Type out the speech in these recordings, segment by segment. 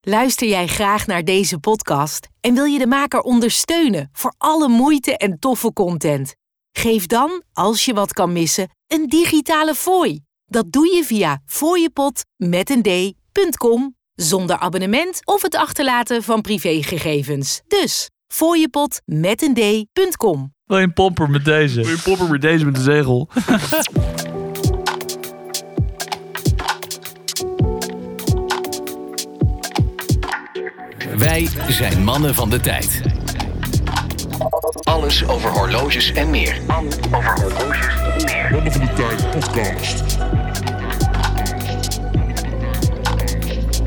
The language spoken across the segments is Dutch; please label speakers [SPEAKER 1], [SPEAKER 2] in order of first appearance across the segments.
[SPEAKER 1] Luister jij graag naar deze podcast en wil je de maker ondersteunen voor alle moeite en toffe content? Geef dan, als je wat kan missen, een digitale fooi. Dat doe je via fooiepot.com zonder abonnement of het achterlaten van privégegevens. Dus fooiepot.com.
[SPEAKER 2] Wil je een pomper met deze?
[SPEAKER 3] Wil je popper met deze met de zegel?
[SPEAKER 4] Wij zijn mannen van de tijd. Alles over horloges en meer.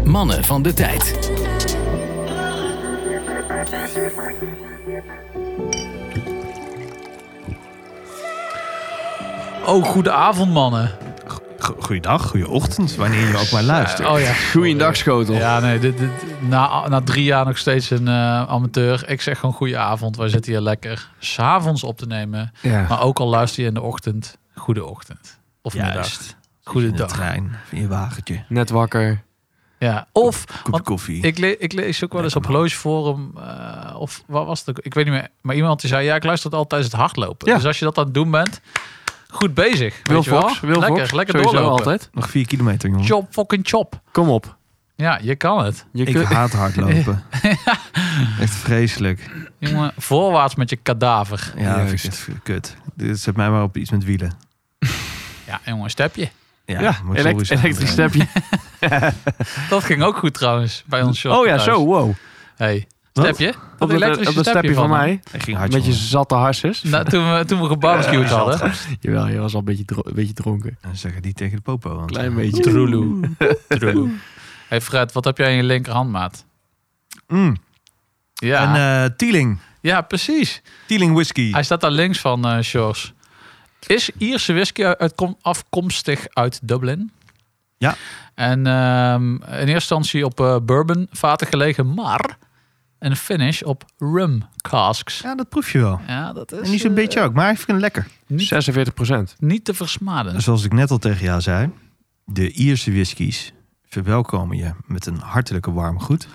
[SPEAKER 4] Mannen van de tijd.
[SPEAKER 2] Oh, goedenavond, mannen.
[SPEAKER 3] Goeiedag, goeie ochtend, wanneer je ook maar luistert.
[SPEAKER 2] Oh ja.
[SPEAKER 5] Goeiedag, schotel.
[SPEAKER 2] Ja, nee, dit, dit- na, na drie jaar nog steeds een eh, amateur. Ik zeg gewoon goedenavond. Wij zitten hier lekker s'avonds op te nemen.
[SPEAKER 5] Ja.
[SPEAKER 2] Maar ook al luister je in de ochtend, goede ochtend. Of middag.
[SPEAKER 3] Juist. In de
[SPEAKER 2] Goedendag.
[SPEAKER 3] trein, in je wagentje,
[SPEAKER 5] Net wakker.
[SPEAKER 2] Ja. Of,
[SPEAKER 3] kopje
[SPEAKER 2] want
[SPEAKER 3] koffie.
[SPEAKER 2] ik, le- ik lees ook wel eens op horlogeforum, eh of wat was het ook? Ik weet niet meer. Maar iemand die zei, ja, ik luister het al tijdens het hardlopen.
[SPEAKER 3] Ja.
[SPEAKER 2] Dus als je dat aan het doen bent, goed bezig. Weet
[SPEAKER 5] Wil
[SPEAKER 2] je wel?
[SPEAKER 5] Fox. Wil
[SPEAKER 2] lekker,
[SPEAKER 5] Fox.
[SPEAKER 2] lekker
[SPEAKER 5] Sowieso
[SPEAKER 2] doorlopen.
[SPEAKER 5] altijd.
[SPEAKER 3] Nog vier kilometer, jongen.
[SPEAKER 2] Chop, fucking chop.
[SPEAKER 5] Kom op.
[SPEAKER 2] Hm? Ja, je kan het.
[SPEAKER 5] Je
[SPEAKER 3] Ik
[SPEAKER 5] kunt-
[SPEAKER 3] haat hardlopen. Echt vreselijk.
[SPEAKER 2] Jongen, voorwaarts met je kadaver.
[SPEAKER 3] Ja,
[SPEAKER 5] Juist.
[SPEAKER 3] vind ik echt kut. Dit zet mij maar op iets met wielen.
[SPEAKER 2] Ja, jongen, stepje.
[SPEAKER 3] Ja, moet
[SPEAKER 5] elekt-
[SPEAKER 3] sowieso
[SPEAKER 5] elektrisch
[SPEAKER 3] doen.
[SPEAKER 5] stepje.
[SPEAKER 2] Dat ging ook goed trouwens bij ons shop.
[SPEAKER 5] Oh ja, zo, wow.
[SPEAKER 2] Hey,
[SPEAKER 3] Wat?
[SPEAKER 2] stepje? Dat
[SPEAKER 5] Op dat,
[SPEAKER 2] elektrische
[SPEAKER 5] op dat stepje van mij.
[SPEAKER 3] Hij ging hard,
[SPEAKER 5] Met je
[SPEAKER 3] jongen.
[SPEAKER 5] zatte harsjes.
[SPEAKER 2] hem. Nou, toen, we, toen we gebarbecued hadden.
[SPEAKER 5] Jawel, je was al een beetje, dro- een beetje dronken.
[SPEAKER 3] Dan zeggen die tegen de popo. Want
[SPEAKER 5] Klein beetje.
[SPEAKER 2] Troeloe. Troeloe. Hey Fred, wat heb jij in je linkerhand, maat?
[SPEAKER 3] Mm.
[SPEAKER 2] Ja,
[SPEAKER 3] En eh, Teeling.
[SPEAKER 2] ja precies.
[SPEAKER 3] Teeling whisky.
[SPEAKER 2] Hij staat daar links van eh Shores. Is Ierse whisky uit- kom- afkomstig uit Dublin.
[SPEAKER 3] Ja.
[SPEAKER 2] En ehm, in eerste instantie op eh, bourbon vaten gelegen, maar een finish op rum casks.
[SPEAKER 3] Ja, dat proef je wel.
[SPEAKER 2] Ja, dat is
[SPEAKER 3] En niet zo'n
[SPEAKER 2] eh,
[SPEAKER 3] beetje ook, maar ik vind het lekker.
[SPEAKER 5] 46 procent.
[SPEAKER 2] niet te versmaden.
[SPEAKER 3] Zoals ik net al tegen jou zei, de Ierse whiskies verwelkomen je met een hartelijke warm goed.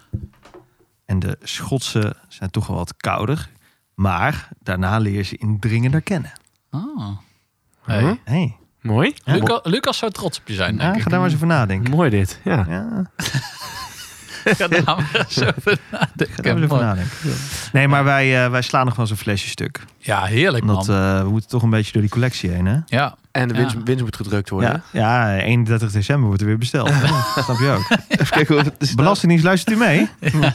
[SPEAKER 3] En de Schotse zijn toch wel wat kouder, maar daarna leer je ze indringender kennen.
[SPEAKER 2] Ah. Hey.
[SPEAKER 5] Huh?
[SPEAKER 3] Hey,
[SPEAKER 5] Mooi.
[SPEAKER 3] Ja.
[SPEAKER 2] Luca- Lucas zou trots op je zijn,
[SPEAKER 3] ja,
[SPEAKER 2] denk
[SPEAKER 3] ga daar maar eens over nadenken.
[SPEAKER 5] Mooi dit. Ja.
[SPEAKER 3] Ja,
[SPEAKER 2] ik. Ja, daar gaan we zo over nadenken.
[SPEAKER 3] ga daar maar eens over
[SPEAKER 2] Mooi.
[SPEAKER 3] nadenken. Nee, maar wij, eh, wij slaan nog wel eens een flesje stuk.
[SPEAKER 2] Ja, heerlijk, man.
[SPEAKER 3] Omdat eh, we moeten toch een beetje door die collectie heen, hè?
[SPEAKER 2] ja.
[SPEAKER 5] En de
[SPEAKER 2] Ja.
[SPEAKER 5] winst, winst moet gedrukt worden.
[SPEAKER 3] Ja, ja, 31 december wordt er weer besteld. Snap je ook? Even kijken hoe het Belastingdienst, luistert u mee?
[SPEAKER 5] Ik denk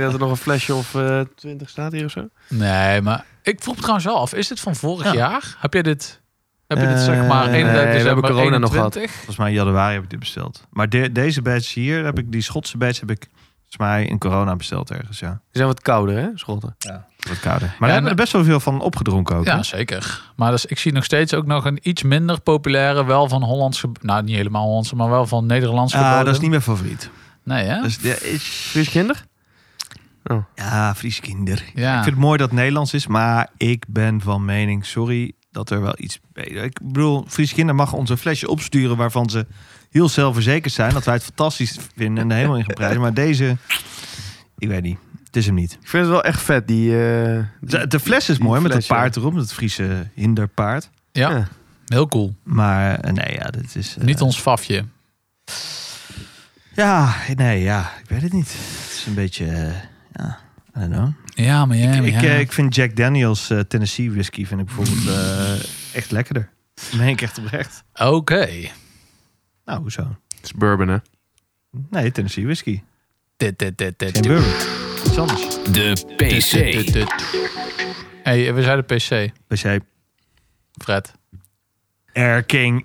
[SPEAKER 5] dat er nog een flesje of eh, twintig 20 staat hier of zo.
[SPEAKER 2] Nee, maar ik vroeg me trouwens wel af. Is dit van vorig
[SPEAKER 3] Ja.
[SPEAKER 2] jaar? Heb je dit... Heb je dit zeg maar 31
[SPEAKER 3] Eh,
[SPEAKER 5] nee, we hebben
[SPEAKER 2] december
[SPEAKER 5] corona nog gehad.
[SPEAKER 2] 21?
[SPEAKER 3] Volgens mij in januari heb ik dit besteld. Maar de- deze badge hier, heb ik, die Schotse badge heb ik volgens mij in corona besteld ergens, ja.
[SPEAKER 5] Ze zijn wat kouder, hè, schotten?
[SPEAKER 3] Wat kouder. Maar daar hebben we er
[SPEAKER 2] en-
[SPEAKER 3] best wel veel van opgedronken ook. hè?
[SPEAKER 2] Ja, zeker. Maar dus, ik zie nog steeds ook nog een iets minder populaire, wel van Hollands... ge- Nou, niet helemaal Hollandse, maar wel van Nederlands
[SPEAKER 3] Ah,
[SPEAKER 2] geboden.
[SPEAKER 3] dat is niet mijn favoriet.
[SPEAKER 2] Nee, hè?
[SPEAKER 3] Dus, ja, is,
[SPEAKER 5] Fris kinder?
[SPEAKER 3] ja, Fries kinder.
[SPEAKER 2] Ja.
[SPEAKER 3] Ik vind het mooi dat het Nederlands is, maar ik ben van mening, sorry, dat er wel iets... Ik bedoel, Fries kinder mag ons een flesje opsturen waarvan ze heel zelfverzekerd zijn. Dat wij het fantastisch vinden en er helemaal in geprijsd. Maar deze, ik weet niet. Het is hem niet.
[SPEAKER 5] Ik vind het wel echt vet, die... eh, die-
[SPEAKER 3] De, de fles is
[SPEAKER 5] die
[SPEAKER 3] mooi met het
[SPEAKER 5] fles, ja.
[SPEAKER 3] paard erop, dat Friese hinderpaard.
[SPEAKER 2] Ja.
[SPEAKER 5] Ja.
[SPEAKER 2] Heel cool.
[SPEAKER 3] Maar eh, nee, ja, dit is... eh,
[SPEAKER 2] Niet ons fafje.
[SPEAKER 3] Ja, nee, ja, ik weet het niet. Het is een beetje... eh, ja, I don't know.
[SPEAKER 2] Ja, maar ja, maar
[SPEAKER 3] ik,
[SPEAKER 2] ja.
[SPEAKER 3] eh, ik vind Jack Daniels eh, Tennessee whisky vind ik bijvoorbeeld eh, echt lekkerder. Dat meen ik echt oprecht.
[SPEAKER 2] Oké.
[SPEAKER 3] Nou, hoezo?
[SPEAKER 5] Het is bourbon, hè?
[SPEAKER 3] Nee, Tennessee whisky.
[SPEAKER 2] Dit, dit, dit, dit.
[SPEAKER 3] Geen bourbon. Iets anders.
[SPEAKER 4] De PC.
[SPEAKER 2] Dit, dit, dit. hey, we zijn de PC,
[SPEAKER 3] PC
[SPEAKER 2] Fred.
[SPEAKER 3] Erking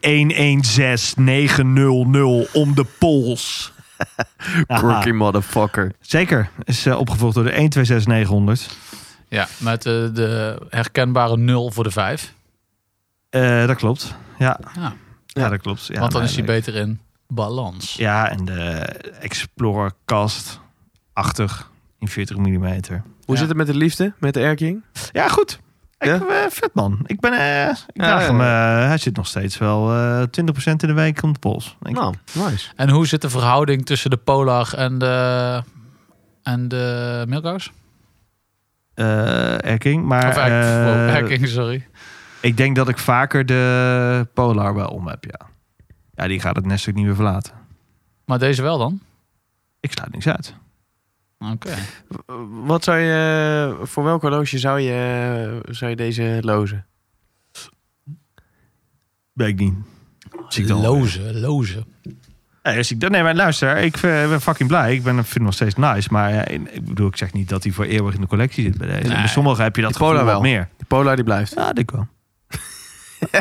[SPEAKER 3] 116900 om de pols.
[SPEAKER 5] Quirky motherfucker.
[SPEAKER 3] Zeker. Is eh, opgevolgd door de 126900.
[SPEAKER 2] Ja, met eh, de herkenbare 0 voor de 5.
[SPEAKER 3] Eh dat klopt. Ja.
[SPEAKER 2] Ja.
[SPEAKER 3] Ja, dat klopt. Ja,
[SPEAKER 2] want dan
[SPEAKER 3] nee,
[SPEAKER 2] is hij
[SPEAKER 3] nee.
[SPEAKER 2] beter in balans.
[SPEAKER 3] Ja, en de Explorer Cast 80 in 40 mm.
[SPEAKER 5] Hoe
[SPEAKER 2] Ja.
[SPEAKER 5] zit het met de liefde, met de erking?
[SPEAKER 3] Ja, goed. Ik,
[SPEAKER 5] Ja?
[SPEAKER 3] eh, vet man. Ik ben. eh, ik
[SPEAKER 5] Ja,
[SPEAKER 3] draag
[SPEAKER 5] ja,
[SPEAKER 3] hem. eh, hij zit nog steeds wel eh 20% in de week om de pols. denk ik.
[SPEAKER 5] Nou, nice.
[SPEAKER 2] En hoe zit de verhouding tussen de Polar en de, en de Milkhouse?
[SPEAKER 3] Eh, Erking. Maar
[SPEAKER 2] Of Hek-
[SPEAKER 3] eh,
[SPEAKER 2] wow, Hacking, sorry.
[SPEAKER 3] ik denk dat ik vaker de Polar wel om heb. Ja, ja die gaat het nest ook niet meer verlaten.
[SPEAKER 2] Maar deze wel dan?
[SPEAKER 3] Ik sluit niks uit.
[SPEAKER 2] Oké.
[SPEAKER 5] Wat zou je, voor welk horloge zou je, zou je deze lozen?
[SPEAKER 3] Ben ik niet. Zie ik dan wel.
[SPEAKER 2] Lozen, lozen.
[SPEAKER 3] Nee, dus ik, nee, maar luister, ik eh, ben fucking blij. Ik ben, vind hem nog steeds nice. Maar eh, ik bedoel, ik zeg niet dat hij voor eeuwig in de collectie zit bij deze.
[SPEAKER 2] Nee.
[SPEAKER 3] Bij sommigen heb je dat
[SPEAKER 5] Die Polar
[SPEAKER 3] gevoel wel.
[SPEAKER 5] wel.
[SPEAKER 3] meer.
[SPEAKER 5] De Polar die blijft.
[SPEAKER 3] Ja, denk ik wel.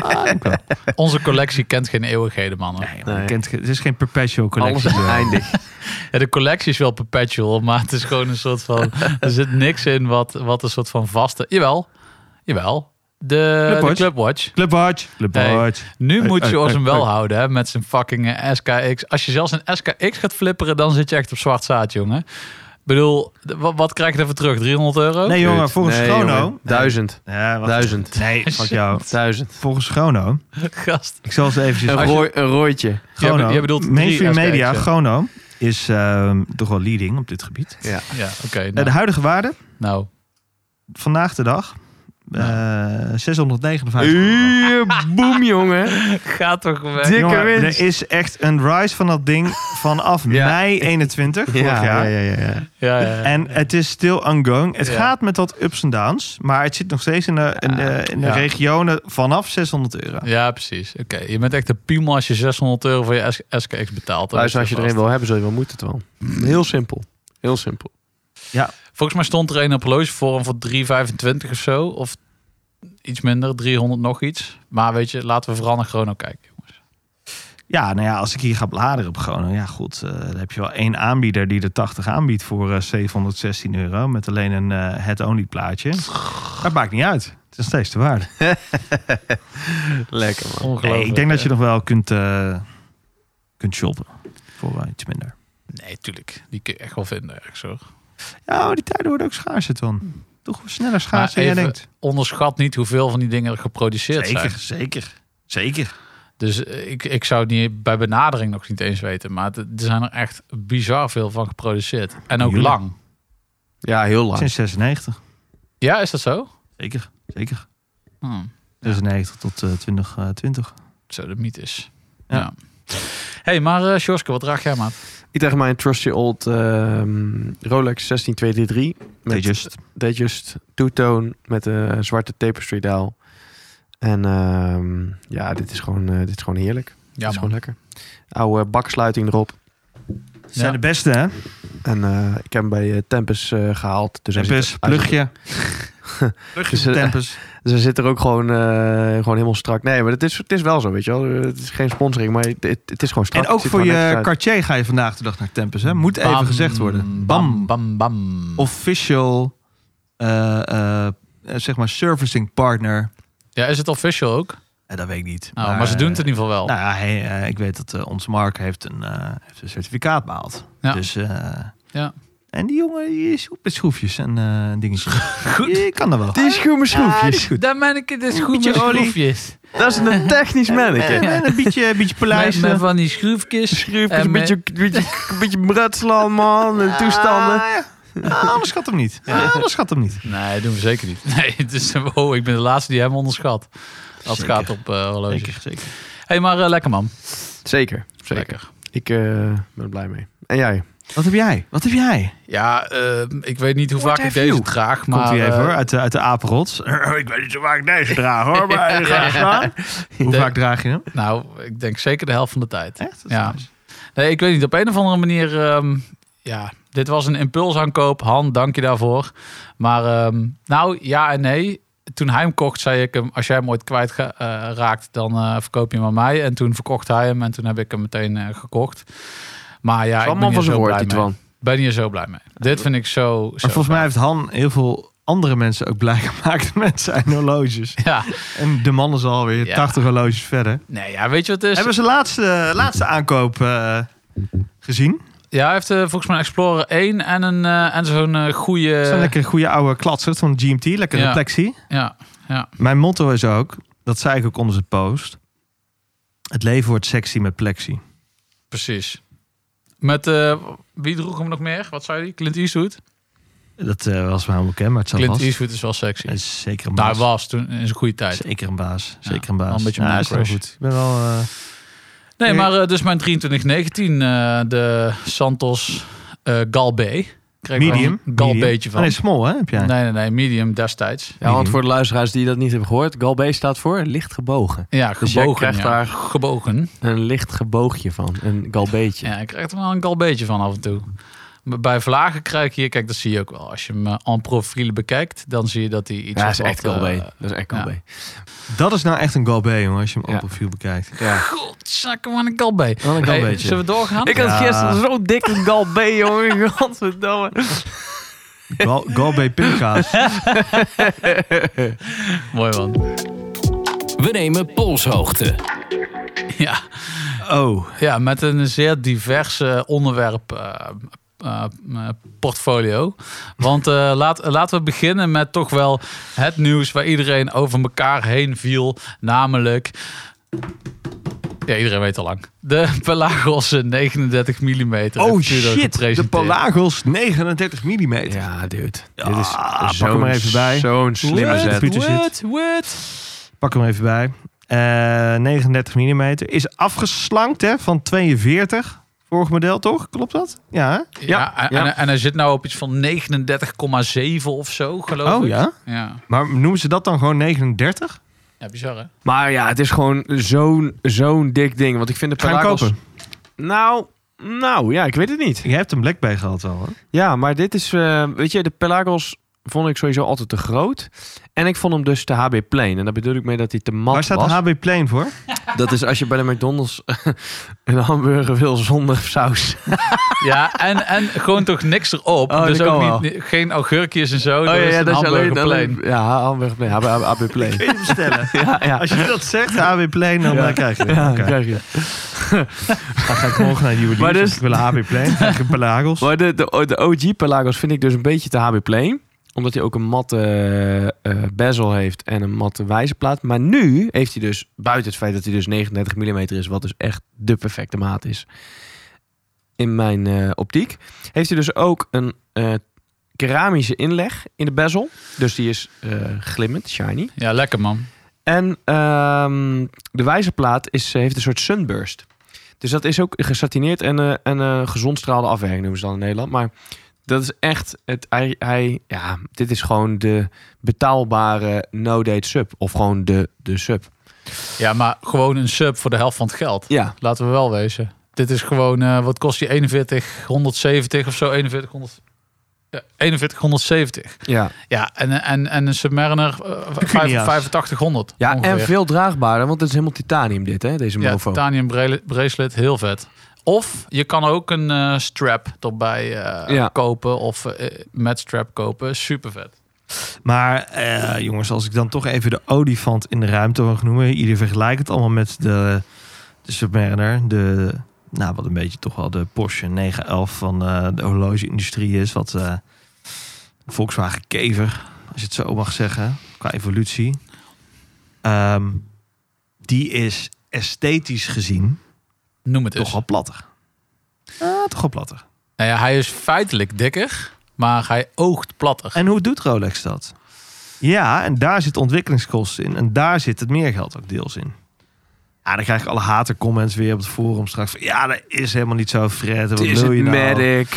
[SPEAKER 3] ah, denk ik wel.
[SPEAKER 2] Onze collectie kent geen eeuwigheden, mannen.
[SPEAKER 3] Nee, man,
[SPEAKER 5] Nee.
[SPEAKER 3] je kent, ge- het is geen perpetual collectie. eh.
[SPEAKER 5] Alles eindig.
[SPEAKER 2] Ja, de collectie is wel perpetual, maar het is gewoon een soort van... Er zit niks in wat, wat een soort van vaste... Jawel, jawel. De
[SPEAKER 3] Clubwatch.
[SPEAKER 2] Clubwatch. De Clubwatch.
[SPEAKER 3] Clubwatch. Clubwatch.
[SPEAKER 2] Nu
[SPEAKER 3] Hey,
[SPEAKER 2] moet je
[SPEAKER 3] hey,
[SPEAKER 2] ons
[SPEAKER 3] hey,
[SPEAKER 2] hem wel
[SPEAKER 3] hey.
[SPEAKER 2] houden hè, met zijn fucking eh, SKX. Als je zelfs een SKX gaat flipperen, dan zit je echt op zwart zaad, jongen. Ik bedoel, de- wat, wat krijg je daarvoor terug? 300 euro?
[SPEAKER 3] Nee, jongen, volgens
[SPEAKER 5] Nee,
[SPEAKER 3] Chrono...
[SPEAKER 5] jongen. Duizend.
[SPEAKER 3] Ja, wacht.
[SPEAKER 5] Duizend.
[SPEAKER 3] Nee, fuck jou.
[SPEAKER 5] Duizend.
[SPEAKER 3] Volgens Chrono...
[SPEAKER 2] Gast.
[SPEAKER 3] Ik zal ze eventjes...
[SPEAKER 5] Een,
[SPEAKER 2] Als je-
[SPEAKER 5] rooi- een rooitje.
[SPEAKER 3] Chrono.
[SPEAKER 2] jij bedoelt drie
[SPEAKER 3] mainstream
[SPEAKER 2] SKX,
[SPEAKER 3] media,
[SPEAKER 2] ja.
[SPEAKER 3] Chrono, is ehm, toch wel leading op dit gebied.
[SPEAKER 5] Ja.
[SPEAKER 2] Ja, oké.
[SPEAKER 3] Eh,
[SPEAKER 2] nou,
[SPEAKER 3] De huidige waarde,
[SPEAKER 2] nou.
[SPEAKER 3] vandaag de dag... eh, 659 euro.
[SPEAKER 5] Uur, boem, jongen.
[SPEAKER 2] Gaat toch weg.
[SPEAKER 5] Dikke
[SPEAKER 3] Jongen,
[SPEAKER 5] winst.
[SPEAKER 3] er is echt een rise van dat ding vanaf
[SPEAKER 5] Ja.
[SPEAKER 3] mei 21 vorig
[SPEAKER 5] Ja, ja,
[SPEAKER 3] jaar.
[SPEAKER 5] ja, ja.
[SPEAKER 2] Ja, ja, ja.
[SPEAKER 3] En eh, het is still ongoing. Het
[SPEAKER 2] Ja.
[SPEAKER 3] gaat met wat ups en downs, maar het zit nog steeds in de, in de, in de
[SPEAKER 2] Ja.
[SPEAKER 3] regionen vanaf 600 euro.
[SPEAKER 2] Ja, precies. Oké, je bent echt een piemel als je 600 euro voor je S- SKX betaalt. Dat
[SPEAKER 5] Luister, als
[SPEAKER 2] is
[SPEAKER 5] je er een
[SPEAKER 2] vast.
[SPEAKER 5] wil hebben, zul je wel moeten het wel. Heel simpel. Heel simpel.
[SPEAKER 2] Volgens mij stond er een op horlogeforum voor 3,25 of zo. Of iets minder, 300 nog iets. Maar weet je, laten we vooral naar Chrono kijken. jongens.
[SPEAKER 3] Ja, nou ja, als ik hier ga bladeren op Groningen, ja goed, eh, dan heb je wel één aanbieder die de 80 aanbiedt voor eh, 716 euro met alleen een eh head-only plaatje. Dat maakt niet uit. Het is nog steeds de waarde.
[SPEAKER 5] Lekker, man.
[SPEAKER 2] Ongelooflijk.
[SPEAKER 3] Nee, ik denk dat je nog wel kunt, eh, kunt shoppen voor eh, iets minder.
[SPEAKER 2] Nee, tuurlijk. Die kun je echt wel vinden ergens hoor.
[SPEAKER 3] Ja, maar die tijden worden ook schaarser dan. Toch sneller schaars
[SPEAKER 2] Maar
[SPEAKER 3] dan
[SPEAKER 2] even-
[SPEAKER 3] jij denkt.
[SPEAKER 2] Onderschat niet hoeveel van die dingen er geproduceerd
[SPEAKER 3] Zeker,
[SPEAKER 2] zijn.
[SPEAKER 3] zeker. Zeker.
[SPEAKER 2] Dus eh, ik, ik zou het niet, bij benadering nog niet eens weten. Maar het- er zijn er echt bizar veel van geproduceerd. En ook
[SPEAKER 3] Jullie.
[SPEAKER 2] lang.
[SPEAKER 5] Ja, heel lang.
[SPEAKER 3] Sinds 96.
[SPEAKER 2] Ja, is dat zo?
[SPEAKER 3] Zeker, zeker.
[SPEAKER 2] Hm.
[SPEAKER 3] 96 tot eh, 2020.
[SPEAKER 2] Zo de mythe is. Ja.
[SPEAKER 3] Ja.
[SPEAKER 2] hey, maar eh Sjoske, wat draag jij maar?
[SPEAKER 5] Ik draag mijn Trusty Old ehm, Rolex 16233.
[SPEAKER 3] They
[SPEAKER 5] Met
[SPEAKER 3] just.
[SPEAKER 5] Datejust two-tone met een zwarte tapestry dial. En ehm, ja, dit is gewoon, eh, dit is gewoon heerlijk. dit
[SPEAKER 2] Ja,
[SPEAKER 5] is gewoon
[SPEAKER 2] man.
[SPEAKER 5] lekker. Oude eh, baksluiting erop.
[SPEAKER 3] zijn de beste, hè?
[SPEAKER 5] En eh, ik heb hem bij eh, Tempus eh, gehaald. Dus hij zit-
[SPEAKER 3] Tempus,
[SPEAKER 5] hij zit-
[SPEAKER 3] plugje. plugje
[SPEAKER 5] Dus,
[SPEAKER 3] van
[SPEAKER 5] eh,
[SPEAKER 3] Tempus.
[SPEAKER 5] Dus hij zit er ook gewoon, eh, gewoon helemaal strak. Nee, maar het is, het is wel zo, weet je wel. Het is geen sponsoring, maar het, het, het is gewoon strak.
[SPEAKER 3] En ook
[SPEAKER 5] Het ziet
[SPEAKER 3] voor
[SPEAKER 5] er gewoon
[SPEAKER 3] je
[SPEAKER 5] netjes uit.
[SPEAKER 3] Cartier ga je vandaag de dag naar Tempus, hè? Moet even
[SPEAKER 2] Bam,
[SPEAKER 3] gezegd worden.
[SPEAKER 2] Bam, bam,
[SPEAKER 3] Bam.
[SPEAKER 2] bam.
[SPEAKER 3] Official, eh, eh, eh, zeg maar, servicing partner.
[SPEAKER 2] Ja, is het official ook?
[SPEAKER 3] Eh, dat weet ik niet.
[SPEAKER 2] Nou, maar, ze doen het in ieder geval wel.
[SPEAKER 3] Nou ja, hij, eh, ik weet dat eh, onze Mark heeft een, eh, heeft een certificaat behaald.
[SPEAKER 2] Ja.
[SPEAKER 3] Dus, eh,
[SPEAKER 2] Ja.
[SPEAKER 3] En die jongen die is goed met schroefjes en eh dingetjes. Goed. Je kan er wel.
[SPEAKER 5] Die is goed met
[SPEAKER 3] Ja, die
[SPEAKER 5] schroefjes.
[SPEAKER 3] is goed.
[SPEAKER 2] Daar ben ik het is goed
[SPEAKER 3] Beetje
[SPEAKER 2] met
[SPEAKER 3] olie.
[SPEAKER 2] schroefjes.
[SPEAKER 5] dat is een technisch mannetje.
[SPEAKER 3] En een beetje, een beetje eh.
[SPEAKER 2] Met,
[SPEAKER 3] polijsten.
[SPEAKER 2] met van die schroefjes.
[SPEAKER 5] Schroefjes,
[SPEAKER 2] En
[SPEAKER 5] een beetje, beetje, beetje brutslaan, man. En toestanden.
[SPEAKER 3] Ah, ja. Ah, onderschat hem niet. Ah, onderschat hem niet.
[SPEAKER 2] Nee, doen we zeker niet. Nee, het is, oh, ik ben de laatste die hem onderschat. Als het
[SPEAKER 3] Zeker.
[SPEAKER 2] gaat op eh horloges.
[SPEAKER 3] Zeker, zeker.
[SPEAKER 2] hey, maar eh, lekker man.
[SPEAKER 5] Zeker, zeker.
[SPEAKER 2] Lekker.
[SPEAKER 5] Ik eh, ben er blij mee. En jij?
[SPEAKER 3] Wat heb jij? Wat heb jij?
[SPEAKER 2] Ja, eh, ik weet niet hoe vaak ik
[SPEAKER 3] have
[SPEAKER 2] deze
[SPEAKER 3] you?
[SPEAKER 2] draag, maar...
[SPEAKER 3] Komt hij even
[SPEAKER 2] eh,
[SPEAKER 3] hoor, uit de, uit de apenrots. ik weet niet zo vaak deze draag hoor, maar graag slaan. Hoe
[SPEAKER 2] De-
[SPEAKER 3] vaak draag je hem?
[SPEAKER 2] Nou, ik denk zeker de helft van de tijd.
[SPEAKER 3] Echt? Dat is
[SPEAKER 2] Ja.
[SPEAKER 3] nice.
[SPEAKER 2] Nee, ik weet niet. Op een of andere manier... ehm, ja, dit was een impulsaankoop. Han, dank je daarvoor. Maar ehm, nou, ja en nee. Toen hij hem kocht, zei ik hem... Als jij hem ooit kwijt ga- eh, raakt, dan eh, verkoop je hem aan mij. En toen verkocht hij hem. En toen heb ik hem meteen eh, gekocht. Maar ja,
[SPEAKER 5] Zal
[SPEAKER 2] ik ben hier
[SPEAKER 5] man van zijn
[SPEAKER 2] zo
[SPEAKER 5] woord,
[SPEAKER 2] blij
[SPEAKER 5] die
[SPEAKER 2] mee.
[SPEAKER 5] Twan.
[SPEAKER 2] Ben hier zo blij mee. Dit vind ik zo... zo
[SPEAKER 3] Maar volgens mij heeft Han heel veel andere mensen ook blij gemaakt met zijn horloges.
[SPEAKER 2] Ja,
[SPEAKER 3] En de man is alweer
[SPEAKER 2] Ja. Dus-
[SPEAKER 3] 80 horloges verder.
[SPEAKER 2] nee, ja, weet je wat het is?
[SPEAKER 3] Hebben ze laatste, laatste aankoop eh, gezien?
[SPEAKER 2] Ja, hij heeft eh, volgens mij een Explorer 1 en, een, eh, en zo'n eh, goede...
[SPEAKER 3] Dat zijn lekker goede oude klatsers van GMT. Lekker
[SPEAKER 2] Ja.
[SPEAKER 3] reflectie.
[SPEAKER 2] Ja, Ja.
[SPEAKER 3] Mijn motto is ook, dat zei ik ook onder zijn post. Het leven wordt sexy met plexi.
[SPEAKER 2] Precies. Met eh, wie droeg hem nog meer? Wat zei hij? Clint Eastwood?
[SPEAKER 3] Dat eh, was mij helemaal bekend, maar het zal
[SPEAKER 2] Clint
[SPEAKER 3] vast.
[SPEAKER 2] Eastwood is wel sexy.
[SPEAKER 3] Hij is zeker een
[SPEAKER 2] Daar
[SPEAKER 3] baas.
[SPEAKER 2] was toen in zijn goede tijd.
[SPEAKER 3] Zeker een baas.
[SPEAKER 2] Ja,
[SPEAKER 3] Zeker een
[SPEAKER 2] wel
[SPEAKER 3] baas.
[SPEAKER 2] een beetje
[SPEAKER 3] Ja,
[SPEAKER 2] man
[SPEAKER 3] is wel
[SPEAKER 2] crush.
[SPEAKER 3] goed. Ik ben wel... eh,
[SPEAKER 2] Nee,
[SPEAKER 3] Nee.
[SPEAKER 2] maar eh, dus mijn 2319, eh de Santos eh Galbé. Kreeg wel
[SPEAKER 3] medium.
[SPEAKER 2] Een
[SPEAKER 3] medium. Oh,
[SPEAKER 2] Galbeetje van.
[SPEAKER 3] Nee, small hè, heb jij.
[SPEAKER 2] Nee, nee, nee, medium destijds.
[SPEAKER 5] Ja, want voor de luisteraars die dat niet hebben gehoord, Galbé staat voor licht gebogen.
[SPEAKER 2] Ja,
[SPEAKER 5] Dus jij
[SPEAKER 2] gebogen.
[SPEAKER 5] krijgt
[SPEAKER 2] ja.
[SPEAKER 5] daar-
[SPEAKER 2] gebogen.
[SPEAKER 5] Een licht geboogje van, een Galbeetje.
[SPEAKER 2] Ja, ik krijg er wel een galbeetje van af en toe. Maar Bij vlagen krijg ik hier, kijk, dat zie je ook wel. Als je hem eh, en profiel bekijkt, dan zie je dat hij iets
[SPEAKER 5] Ja, dat
[SPEAKER 2] of
[SPEAKER 5] is
[SPEAKER 2] wat,
[SPEAKER 5] echt Galbé.
[SPEAKER 2] eh,
[SPEAKER 5] dat is echt
[SPEAKER 2] ja.
[SPEAKER 5] Galbé.
[SPEAKER 3] Dat is nou echt een goal B, jongen, als je hem
[SPEAKER 5] Ja.
[SPEAKER 3] op profiel bekijkt.
[SPEAKER 2] Godzakken, wat een galbé.
[SPEAKER 3] Wel een
[SPEAKER 2] Hey,
[SPEAKER 3] galbeetje.
[SPEAKER 2] zullen we doorgaan?
[SPEAKER 5] Ik
[SPEAKER 3] had
[SPEAKER 5] had
[SPEAKER 3] Ja. gisteren
[SPEAKER 5] gisteren zo'n dikke Galbé, jongen. Godverdomme.
[SPEAKER 3] Gal, Oh, Gal B pindakaas.
[SPEAKER 2] Mooi man.
[SPEAKER 4] We nemen polshoogte.
[SPEAKER 2] Ja.
[SPEAKER 3] Oh,
[SPEAKER 2] Ja, met een zeer divers eh, onderwerp eh, eh, eh, portfolio. Want eh, laat, laten we beginnen met toch wel het nieuws waar iedereen over elkaar heen viel. Namelijk. Ja, iedereen weet al lang. De Pelagos eh, 39 mm.
[SPEAKER 3] oh shit. De Palagos 39 mm.
[SPEAKER 5] Ja, dude. dit is
[SPEAKER 3] Ah, pak
[SPEAKER 5] zo'n-
[SPEAKER 3] hem er even bij.
[SPEAKER 5] Zo'n slimme
[SPEAKER 3] What?
[SPEAKER 5] zet.
[SPEAKER 3] Pieter zit.
[SPEAKER 2] What? What?
[SPEAKER 3] Pak hem er even bij. Eh, 39 mm is afgeslankt hè, van 42. Vorig model toch? Klopt dat? Ja. hè?
[SPEAKER 2] Ja, en,
[SPEAKER 5] ja.
[SPEAKER 2] en- en hij zit nou op iets van 39,7 of zo, geloof ik.
[SPEAKER 3] Oh ja.
[SPEAKER 2] ja.
[SPEAKER 3] Maar noemen ze dat dan gewoon 39?
[SPEAKER 2] Ja, bizar hè?
[SPEAKER 5] Maar ja, het is gewoon zo'n zo'n dik ding. Want ik vind de
[SPEAKER 3] Ga je hem
[SPEAKER 5] Pelagos-
[SPEAKER 3] kopen?
[SPEAKER 5] Nou, nou ja, ik weet het niet.
[SPEAKER 3] Jij hebt een Black Bay gehad al. Hè?
[SPEAKER 5] Ja, maar dit is, eh, weet je, de Pelagos vond ik sowieso altijd te groot. En ik vond hem dus te HB Plain. En daar bedoel ik mee dat hij te mat
[SPEAKER 3] Waar staat
[SPEAKER 5] was.
[SPEAKER 3] de HB Plane voor?
[SPEAKER 5] Dat is als je bij de McDonald's een hamburger wil zonder saus.
[SPEAKER 2] Ja, en, en gewoon toch niks erop.
[SPEAKER 5] Oh,
[SPEAKER 2] dus
[SPEAKER 5] dat kan
[SPEAKER 2] ook
[SPEAKER 5] wel. Oh,
[SPEAKER 2] niet, niet- geen augurkjes en zo. Er is een hamburger plain.
[SPEAKER 5] Ja, hamburger plain. HB, HB plain.
[SPEAKER 3] Kun je bestellen?
[SPEAKER 5] E. ja, ja.
[SPEAKER 3] Als je dat zegt, de HB Plane, dan
[SPEAKER 5] Ja.
[SPEAKER 3] eh, krijg je het.
[SPEAKER 5] Ja,
[SPEAKER 3] Oké.
[SPEAKER 5] krijg je.
[SPEAKER 3] Dan ga ik morgen naar de juwelier.
[SPEAKER 5] Maar dus-
[SPEAKER 3] Dus... Ik wil een HB Plane. krijg een Pelagos.
[SPEAKER 5] Maar de, de, de OG Pelagos vind ik dus een beetje te HB Plain. Omdat hij ook een matte eh, eh, bezel heeft en een matte wijzerplaat. Maar nu heeft hij dus, buiten het feit dat hij dus 39 mm is, wat dus echt de perfecte maat is in mijn eh, optiek, heeft hij dus ook een eh, keramische inleg in de bezel. Dus die is eh, glimmend, shiny.
[SPEAKER 2] Ja, lekker man.
[SPEAKER 5] En ehm, de wijzerplaat is, eh, heeft een soort sunburst. Dus dat is ook gesatineerd en, eh en eh gezondstraalde afwerking noemen ze dan in Nederland. Maar dat is echt, het, hij, hij, ja, dit is gewoon de betaalbare no-date sub. Of gewoon de, de sub.
[SPEAKER 2] Ja, maar gewoon een sub voor de helft van het geld.
[SPEAKER 5] Ja.
[SPEAKER 2] Laten we wel wezen. Dit is gewoon, eh, wat kost die 4170 of zo? 4100. Ja, 4170.
[SPEAKER 5] Ja,
[SPEAKER 2] Ja, en, en, en een Submariner eh, vijf- 8500.
[SPEAKER 5] ja
[SPEAKER 2] ongeveer.
[SPEAKER 5] en veel draagbaarder, want het is helemaal titanium dit, hè, deze
[SPEAKER 2] Ja,
[SPEAKER 5] mofo.
[SPEAKER 2] titanium brele- bracelet, heel vet. Of je kan ook een eh, strap erbij eh,
[SPEAKER 5] Ja.
[SPEAKER 2] kopen of eh, met strap kopen. Super vet.
[SPEAKER 3] Maar eh, jongens, als ik dan toch even de olifant in de ruimte mag noemen. Ieder vergelijkt het allemaal met de, de Submariner. De, nou, wat een beetje toch wel de Porsche 911 van eh, de horlogeindustrie is. Wat eh, Volkswagen Kever, als je het zo mag zeggen. Qua evolutie. Ehm, die is esthetisch gezien
[SPEAKER 2] Noem het eens.
[SPEAKER 3] toch wel platter. Ah, toch wel platter.
[SPEAKER 2] Nou ja, hij is feitelijk dikker, maar hij oogt platter.
[SPEAKER 3] En hoe doet Rolex dat? Ja, en daar zit ontwikkelingskosten in. En daar zit het meergeld ook deels in. Ja, dan krijg ik alle hatercomments weer op het forum straks. Van, ja, dat is helemaal niet zo, Fred. Wat
[SPEAKER 5] Het is
[SPEAKER 3] wil je
[SPEAKER 5] het
[SPEAKER 3] nou?
[SPEAKER 5] medic.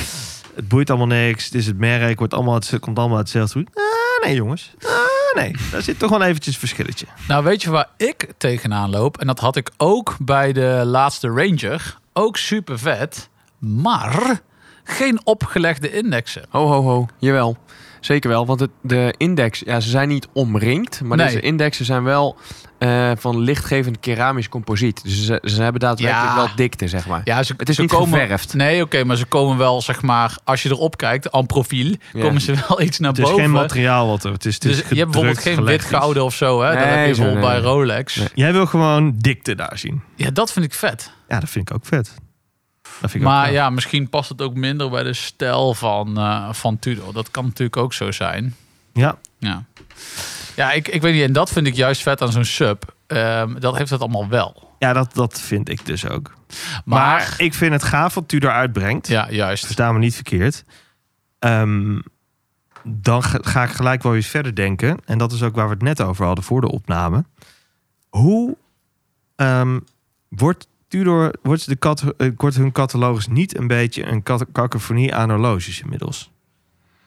[SPEAKER 3] Het boeit allemaal niks. Het is het merk. Wordt allemaal, het komt allemaal uit hetzelfde goed. Ah, nee, jongens. Ah, nee. Daar zit toch wel eventjes verschilletje.
[SPEAKER 2] Nou, weet je waar ik tegenaan loop? En dat had ik ook bij de laatste Ranger. Ook super vet, maar geen opgelegde indexen.
[SPEAKER 5] Ho, ho, ho. Jawel. Zeker wel, want het, de index, ja, ze zijn niet omringd, maar
[SPEAKER 2] Nee.
[SPEAKER 5] deze indexen zijn wel eh, van lichtgevend keramisch composiet. Dus ze, ze hebben daadwerkelijk
[SPEAKER 2] Ja.
[SPEAKER 5] wel dikte, zeg maar.
[SPEAKER 2] Ja, ze,
[SPEAKER 5] Het is
[SPEAKER 2] ze
[SPEAKER 5] niet
[SPEAKER 2] komen,
[SPEAKER 5] geverfd.
[SPEAKER 2] Nee, oké, maar ze komen wel, zeg maar, als je erop kijkt, aan profiel,
[SPEAKER 5] Ja.
[SPEAKER 2] komen ze wel iets naar
[SPEAKER 3] Het is
[SPEAKER 2] boven.
[SPEAKER 3] geen materiaal wat er... Het is, het is
[SPEAKER 2] dus je hebt bijvoorbeeld
[SPEAKER 3] gedrukt,
[SPEAKER 2] geen wit
[SPEAKER 3] gelegd iets.
[SPEAKER 2] gouden of zo, hè? dat
[SPEAKER 5] Nee,
[SPEAKER 2] heb je
[SPEAKER 5] nee,
[SPEAKER 2] bijvoorbeeld
[SPEAKER 5] nee,
[SPEAKER 2] bij
[SPEAKER 5] nee.
[SPEAKER 2] Rolex.
[SPEAKER 5] Nee.
[SPEAKER 3] Jij wil gewoon dikte daar zien.
[SPEAKER 2] Ja, dat vind ik vet.
[SPEAKER 3] Ja, dat vind ik ook vet. Dat vind ik ook
[SPEAKER 2] Maar
[SPEAKER 3] vet.
[SPEAKER 2] ja, misschien past het ook minder bij de stijl van, eh, van Tudor. Dat kan natuurlijk ook zo zijn.
[SPEAKER 3] ja.
[SPEAKER 2] Ja. Ja, ik, ik weet niet. En dat vind ik juist vet aan zo'n sub. Ehm, dat heeft dat allemaal wel.
[SPEAKER 3] Ja, dat, dat vind ik dus ook.
[SPEAKER 2] Maar,
[SPEAKER 3] Maar, ik vind het gaaf wat Tudor uitbrengt.
[SPEAKER 2] ja, juist.
[SPEAKER 3] Dus Versta me niet verkeerd. Ehm, dan ga, ga ik gelijk wel eens verder denken. En dat is ook waar we het net over hadden voor de opname. Hoe ehm, wordt Tudor, wordt, de cat, eh, wordt hun catalogus niet een beetje een kat, kakofonie aan horloges inmiddels?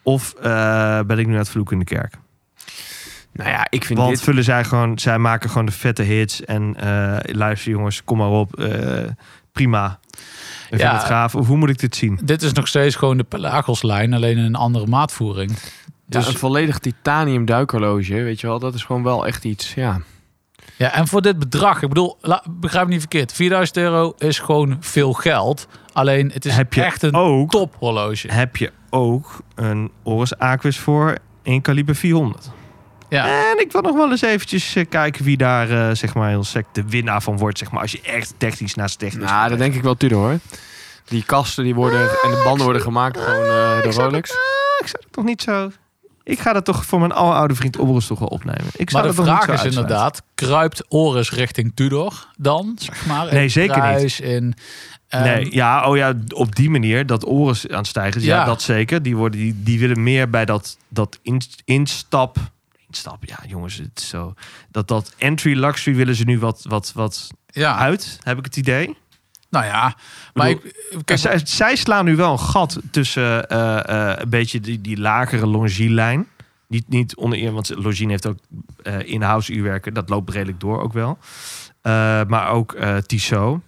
[SPEAKER 3] Of eh, ben ik nu aan het vloeken in de kerk?
[SPEAKER 5] Nou ja, ik vind
[SPEAKER 3] Want
[SPEAKER 5] dit...
[SPEAKER 3] vullen zij gewoon, zij maken gewoon de vette hits. En eh luister jongens, kom maar op. eh, prima. Ik vind
[SPEAKER 2] Ja.
[SPEAKER 3] het gaaf. Of hoe moet ik dit zien?
[SPEAKER 2] Dit is nog steeds gewoon de Pelagoslijn, alleen in een andere maatvoering.
[SPEAKER 5] Dus een volledig titanium duikhorloge, weet je wel, dat is gewoon wel echt iets. Ja,
[SPEAKER 2] Ja, en voor dit bedrag, ik bedoel, la- begrijp me niet verkeerd. 4000 euro is gewoon veel geld. Alleen het is
[SPEAKER 3] Heb je
[SPEAKER 2] echt een
[SPEAKER 3] ook-
[SPEAKER 2] tophorloge.
[SPEAKER 3] heb je ook een Oris Aquis voor in kaliber 400.
[SPEAKER 2] Ja.
[SPEAKER 3] En ik wil nog wel eens eventjes eh, kijken wie daar eh, zeg maar heel sec de winnaar van wordt. Zeg maar, als je echt technisch naast technisch... Ah,
[SPEAKER 5] nou, dat Ah, denk ik wel Tudor hoor. Die kasten die worden en de banden worden gemaakt gewoon eh,
[SPEAKER 3] ik
[SPEAKER 5] door
[SPEAKER 3] zou
[SPEAKER 5] Rolex.
[SPEAKER 3] dat- Ah, ik zou het toch niet zo... Ik ga dat toch voor mijn aloude vriend Oris toch wel opnemen. Ik zou
[SPEAKER 2] Maar de
[SPEAKER 3] dat toch
[SPEAKER 2] vraag
[SPEAKER 3] niet
[SPEAKER 2] is
[SPEAKER 3] zo uitsluiten.
[SPEAKER 2] inderdaad, kruipt Oris richting Tudor dan? Zeg maar, in
[SPEAKER 3] Nee, zeker niet.
[SPEAKER 2] prijs, In, ehm,
[SPEAKER 3] nee, ja, oh ja, op die manier dat Oris aan het stijgen is. Ja,
[SPEAKER 2] Ja.
[SPEAKER 3] dat zeker. Die, worden, die, die willen meer bij dat, dat inst- instap... Instap, ja jongens, het is zo... Dat, dat entry luxury willen ze nu wat, wat, wat
[SPEAKER 2] ja,
[SPEAKER 3] uit, heb ik het idee.
[SPEAKER 2] nou ja. Maar
[SPEAKER 3] bedoel,
[SPEAKER 2] ik, kijk,
[SPEAKER 3] zij, zij slaan nu wel een gat tussen eh, eh, een beetje die, die lagere Longines-lijn. Niet, niet oneer, want Longines heeft ook eh, in-house uurwerken. Dat loopt redelijk door ook wel. Eh, maar ook eh, Tissot.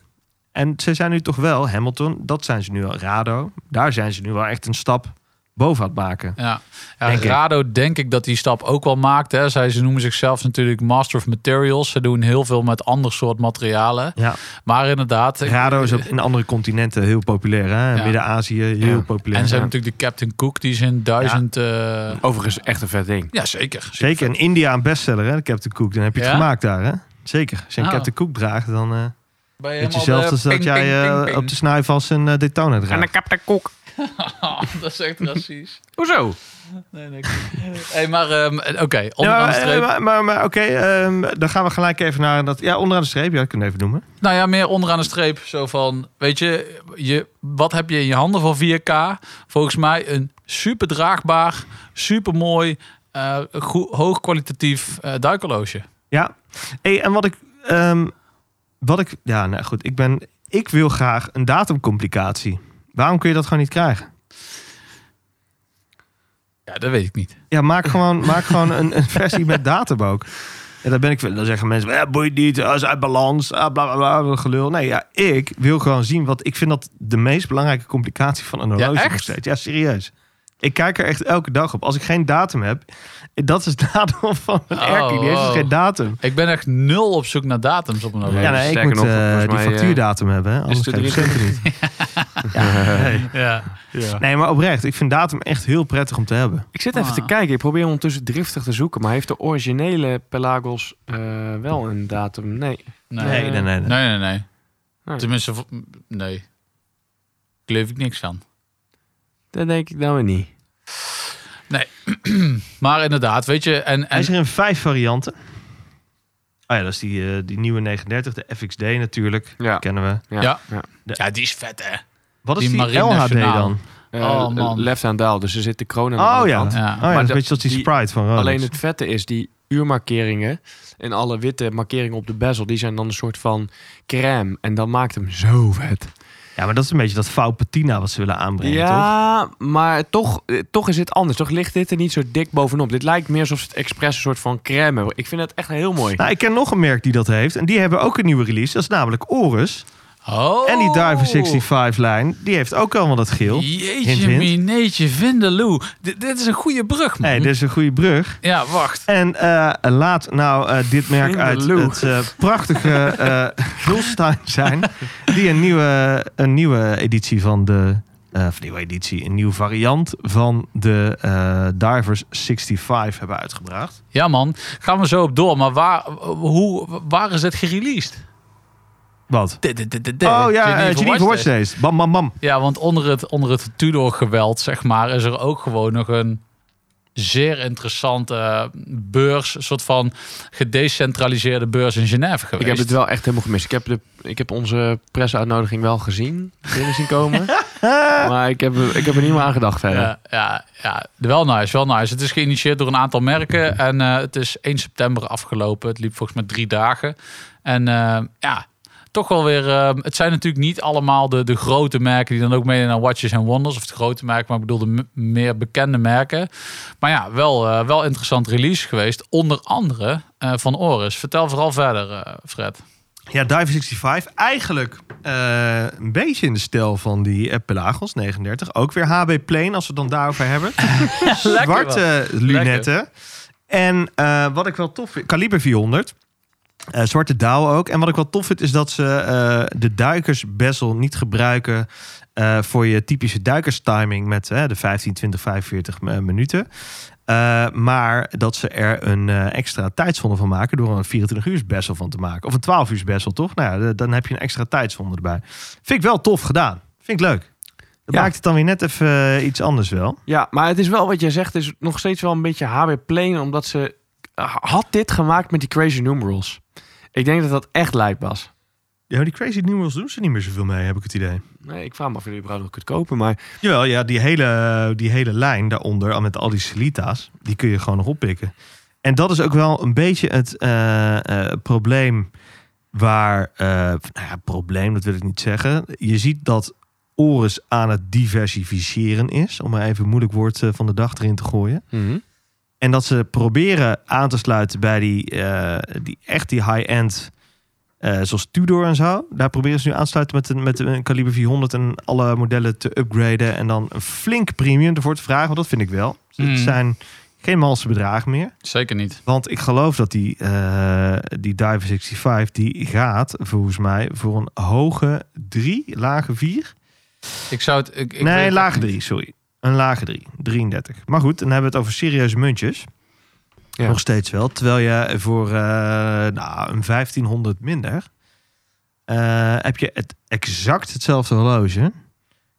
[SPEAKER 3] En ze zijn nu toch wel, Hamilton, dat zijn ze nu al, Rado. Daar zijn ze nu wel echt een stap boven aan het maken.
[SPEAKER 2] Ja, ja
[SPEAKER 3] Denk ik.
[SPEAKER 2] Rado denk ik dat die stap ook wel maakt. Hè. Zij, ze noemen zichzelf natuurlijk Master of Materials. Ze doen heel veel met ander soort materialen.
[SPEAKER 3] Ja,
[SPEAKER 2] Maar inderdaad... ik-
[SPEAKER 3] Rado is op, in andere continenten heel populair. Hè? In
[SPEAKER 2] Ja.
[SPEAKER 3] Midden-Azië heel
[SPEAKER 5] Ja.
[SPEAKER 3] populair.
[SPEAKER 2] En ze
[SPEAKER 3] Ja.
[SPEAKER 2] hebben natuurlijk de Captain Cook, die is in duizend... Ja,
[SPEAKER 5] Overigens echt een vet ding.
[SPEAKER 2] ja zeker.
[SPEAKER 3] Zeker, in India een bestseller, hè? de Captain Cook. Dan heb je het
[SPEAKER 2] Ja?
[SPEAKER 3] gemaakt daar, hè? Zeker. Als je een
[SPEAKER 2] Ah.
[SPEAKER 3] Captain Cook draagt, dan... eh,
[SPEAKER 2] Ben je
[SPEAKER 3] Het is
[SPEAKER 2] helemaal
[SPEAKER 3] hetzelfde als
[SPEAKER 2] de
[SPEAKER 3] dat
[SPEAKER 2] ping,
[SPEAKER 3] jij
[SPEAKER 2] ping,
[SPEAKER 3] eh,
[SPEAKER 2] ping, ping.
[SPEAKER 3] op de snuif als een eh Daytona draagt.
[SPEAKER 5] heb de koek.
[SPEAKER 2] Oh, dat is echt racistisch.
[SPEAKER 5] Hoezo?
[SPEAKER 2] Nee, nee. hey, maar ehm, oké,
[SPEAKER 3] Ja,
[SPEAKER 2] onderaan de
[SPEAKER 3] maar, eh,
[SPEAKER 2] streep.
[SPEAKER 3] maar maar, maar oké, ehm, dan gaan we gelijk even naar dat. Ja, onderaan de streep, ja, ik kan het even noemen.
[SPEAKER 2] Nou ja, meer onderaan de streep. Zo van, weet je, je, wat heb je in je handen voor 4K? Volgens mij een super draagbaar, super mooi, eh, hoogkwalitatief eh duikhorloge.
[SPEAKER 3] Ja. Hey, en wat ik, ehm, wat ik, ja, nou goed, ik ben, ik wil graag een datumcomplicatie. Waarom kun je dat gewoon niet krijgen?
[SPEAKER 2] Ja, dat weet ik niet.
[SPEAKER 3] Ja, maak gewoon, maak gewoon een, een versie met datum ook. En dan ben ik, dan zeggen mensen, eh, boeit niet, dat is uit balans, ah, bla bla bla, wat gelul. Nee, ja, ik wil gewoon zien, want ik vind dat de meest belangrijke complicatie van een horloge nog
[SPEAKER 2] echt?
[SPEAKER 3] steeds. Ja, serieus. Ik kijk er echt elke dag op. Als ik geen datum heb, dat is datum van een
[SPEAKER 2] Oh,
[SPEAKER 3] erkie. Die heeft dus
[SPEAKER 2] wow. dus
[SPEAKER 3] geen datum.
[SPEAKER 2] Ik ben echt nul op zoek naar datums op een horloge.
[SPEAKER 3] Ja, nee, ik
[SPEAKER 5] sterker
[SPEAKER 3] moet
[SPEAKER 5] nog,
[SPEAKER 3] eh,
[SPEAKER 5] volgens
[SPEAKER 3] die
[SPEAKER 5] mij, eh,
[SPEAKER 3] factuurdatum hebben, hè, anders
[SPEAKER 5] de
[SPEAKER 3] geef ik centen niet. ja, nee.
[SPEAKER 2] Ja.
[SPEAKER 3] nee, maar oprecht, ik vind datum echt heel prettig om te hebben.
[SPEAKER 5] Ik zit even te kijken. Ik probeer ondertussen driftig te zoeken. Maar heeft de originele Pelagos eh, wel een datum? Nee.
[SPEAKER 3] Nee, nee, nee, nee.
[SPEAKER 2] nee, nee, nee.
[SPEAKER 5] Nee.
[SPEAKER 2] Tenminste, vo- nee. Ik leef ik niks aan.
[SPEAKER 5] Dat denk ik nou weer niet.
[SPEAKER 2] Maar inderdaad, weet je, en,
[SPEAKER 3] Hij
[SPEAKER 2] en
[SPEAKER 3] is er in vijf varianten. Oh ja, dat is die, eh, die nieuwe 39, de FXD natuurlijk.
[SPEAKER 5] Ja.
[SPEAKER 3] Kennen we.
[SPEAKER 2] Ja.
[SPEAKER 5] ja.
[SPEAKER 2] ja, die is vet, hè?
[SPEAKER 3] Wat is
[SPEAKER 2] Die
[SPEAKER 3] die,
[SPEAKER 2] Marine
[SPEAKER 3] LHD
[SPEAKER 2] Nationaal.
[SPEAKER 3] dan?
[SPEAKER 5] Eh,
[SPEAKER 2] Oh, man.
[SPEAKER 5] Left hand dial. Dus er zit de kroon aan de
[SPEAKER 3] Oh
[SPEAKER 5] andere
[SPEAKER 3] ja.
[SPEAKER 5] kant.
[SPEAKER 3] Oh ja,
[SPEAKER 2] Ja.
[SPEAKER 3] dat is
[SPEAKER 5] Maar
[SPEAKER 3] een
[SPEAKER 5] dat-
[SPEAKER 3] beetje als die,
[SPEAKER 5] die-
[SPEAKER 3] Sprite van Rolex.
[SPEAKER 5] Alleen het vette is, die uurmarkeringen en alle witte markeringen op de bezel, die zijn dan een soort van crème. En dat maakt hem zo vet.
[SPEAKER 3] Ja, maar dat is een beetje dat fout patina wat ze willen aanbrengen, toch?
[SPEAKER 5] ja, maar toch, eh, toch is het anders. Toch ligt dit er niet zo dik bovenop. Dit lijkt meer alsof ze het expres een soort van crème hebben. Ik vind het echt heel mooi.
[SPEAKER 3] Nou, ik ken nog een merk die dat heeft. En die hebben ook een nieuwe release. Dat is namelijk Oris.
[SPEAKER 2] Oh.
[SPEAKER 3] En die Diver 65-lijn, die heeft ook allemaal dat geel. Hint,
[SPEAKER 2] Jeetje,
[SPEAKER 3] hint.
[SPEAKER 2] mineetje, vindeloe. D- dit is een goede brug, man.
[SPEAKER 3] hey, dit is een goede brug.
[SPEAKER 2] Ja, wacht.
[SPEAKER 3] En eh, laat nou eh, dit merk uit
[SPEAKER 5] Vindeloe.
[SPEAKER 3] het eh, prachtige eh Gulstein zijn. Die een nieuwe, een nieuwe editie van de... eh, of nieuwe editie, een nieuwe variant van de eh, Divers 65 hebben uitgebracht.
[SPEAKER 2] Ja, man. Gaan we zo op door. Maar waar, hoe, waar is het gereleased?
[SPEAKER 3] Wat?
[SPEAKER 2] Dit, dit, dit, dit, dit.
[SPEAKER 3] Oh ja,
[SPEAKER 2] Geneva
[SPEAKER 3] eh, Geneva
[SPEAKER 2] Watch
[SPEAKER 3] Watch
[SPEAKER 2] Day.
[SPEAKER 3] Days. Bam, bam, bam.
[SPEAKER 2] Ja, want onder het, onder het Tudor-geweld, zeg maar, is er ook gewoon nog een zeer interessante beurs, een soort van gedecentraliseerde beurs in Genève geweest.
[SPEAKER 5] Ik heb het wel echt helemaal gemist. Ik heb, de, ik heb onze pressuitnodiging wel gezien, binnen zien komen. maar ik heb, ik heb er niet meer aan gedacht verder.
[SPEAKER 2] Ja, Eh, ja, ja, wel nice, wel nice. Het is geïnitieerd door een aantal merken en eh, het is 1 september afgelopen. Het liep volgens mij drie dagen. En eh, ja, toch wel weer... eh, het zijn natuurlijk niet allemaal de, de grote merken die dan ook meedoen aan Watches and Wonders. Of de grote merken, maar ik bedoel de m- meer bekende merken. Maar ja, wel, eh, wel interessant release geweest. Onder andere eh, van Oris. Vertel vooral verder, eh, Fred.
[SPEAKER 3] Ja, Dive 65. Eigenlijk eh, een beetje in de stijl van die eh, Pelagos 39. Ook weer HB Plane, als we het dan daarover hebben. zwarte lunetten. En eh, wat ik wel tof vind... Kaliber 400. Eh, zwarte douwen ook. En wat ik wel tof vind, is dat ze eh, de duikersbezel niet gebruiken... eh, voor je typische duikerstiming met eh, de 15, 20, 45 mi- minuten. Eh, maar dat ze er een eh, extra tijdzone van maken door er een 24-uurs bezel van te maken. Of een 12-uurs bezel, toch? Nou ja, d- dan heb je een extra tijdzone erbij. Vind ik wel tof gedaan. Vind ik leuk. Dat
[SPEAKER 5] Ja.
[SPEAKER 3] maakt het dan weer net even eh, iets anders wel.
[SPEAKER 5] Ja, maar het is wel wat jij zegt, is nog steeds wel een beetje HB Plane, omdat ze eh, had dit gemaakt met die crazy numerals. Ik denk dat dat echt lijp was.
[SPEAKER 3] Ja, die crazy numerals doen ze niet meer zoveel mee, heb ik het idee.
[SPEAKER 5] Nee, ik vraag me af of jullie überhaupt nog kunt kopen, maar
[SPEAKER 3] Jawel, ja, die hele, die hele lijn daaronder, al met al die Celita's, die kun je gewoon nog oppikken. En dat is ook wel een beetje het eh, eh, probleem waar, eh, nou ja, probleem, dat wil ik niet zeggen. Je ziet dat Oris aan het diversificeren is, om maar even een moeilijk woord eh, van de dag erin te gooien. En dat ze proberen aan te sluiten bij die, eh, die echt die high-end, eh, zoals Tudor en zo. Daar proberen ze nu aan te sluiten met een, met een kaliber 400 en alle modellen te upgraden. En dan een flink premium ervoor te vragen, want dat vind ik wel. Het
[SPEAKER 2] Mm.
[SPEAKER 3] zijn geen malse bedragen meer.
[SPEAKER 2] Zeker niet.
[SPEAKER 3] Want ik geloof dat die, eh die Diver 65, die gaat volgens mij voor een hoge 3, lage 4.
[SPEAKER 2] Ik zou het... Ik, ik weet
[SPEAKER 3] nee,
[SPEAKER 2] het
[SPEAKER 3] lage
[SPEAKER 2] niet.
[SPEAKER 3] 3, sorry. Een lage 3, 33. Maar goed, dan hebben we het over serieuze muntjes.
[SPEAKER 5] Ja.
[SPEAKER 3] Nog steeds wel. Terwijl je voor eh, nou, een 1500 minder... eh, heb je het exact hetzelfde horloge...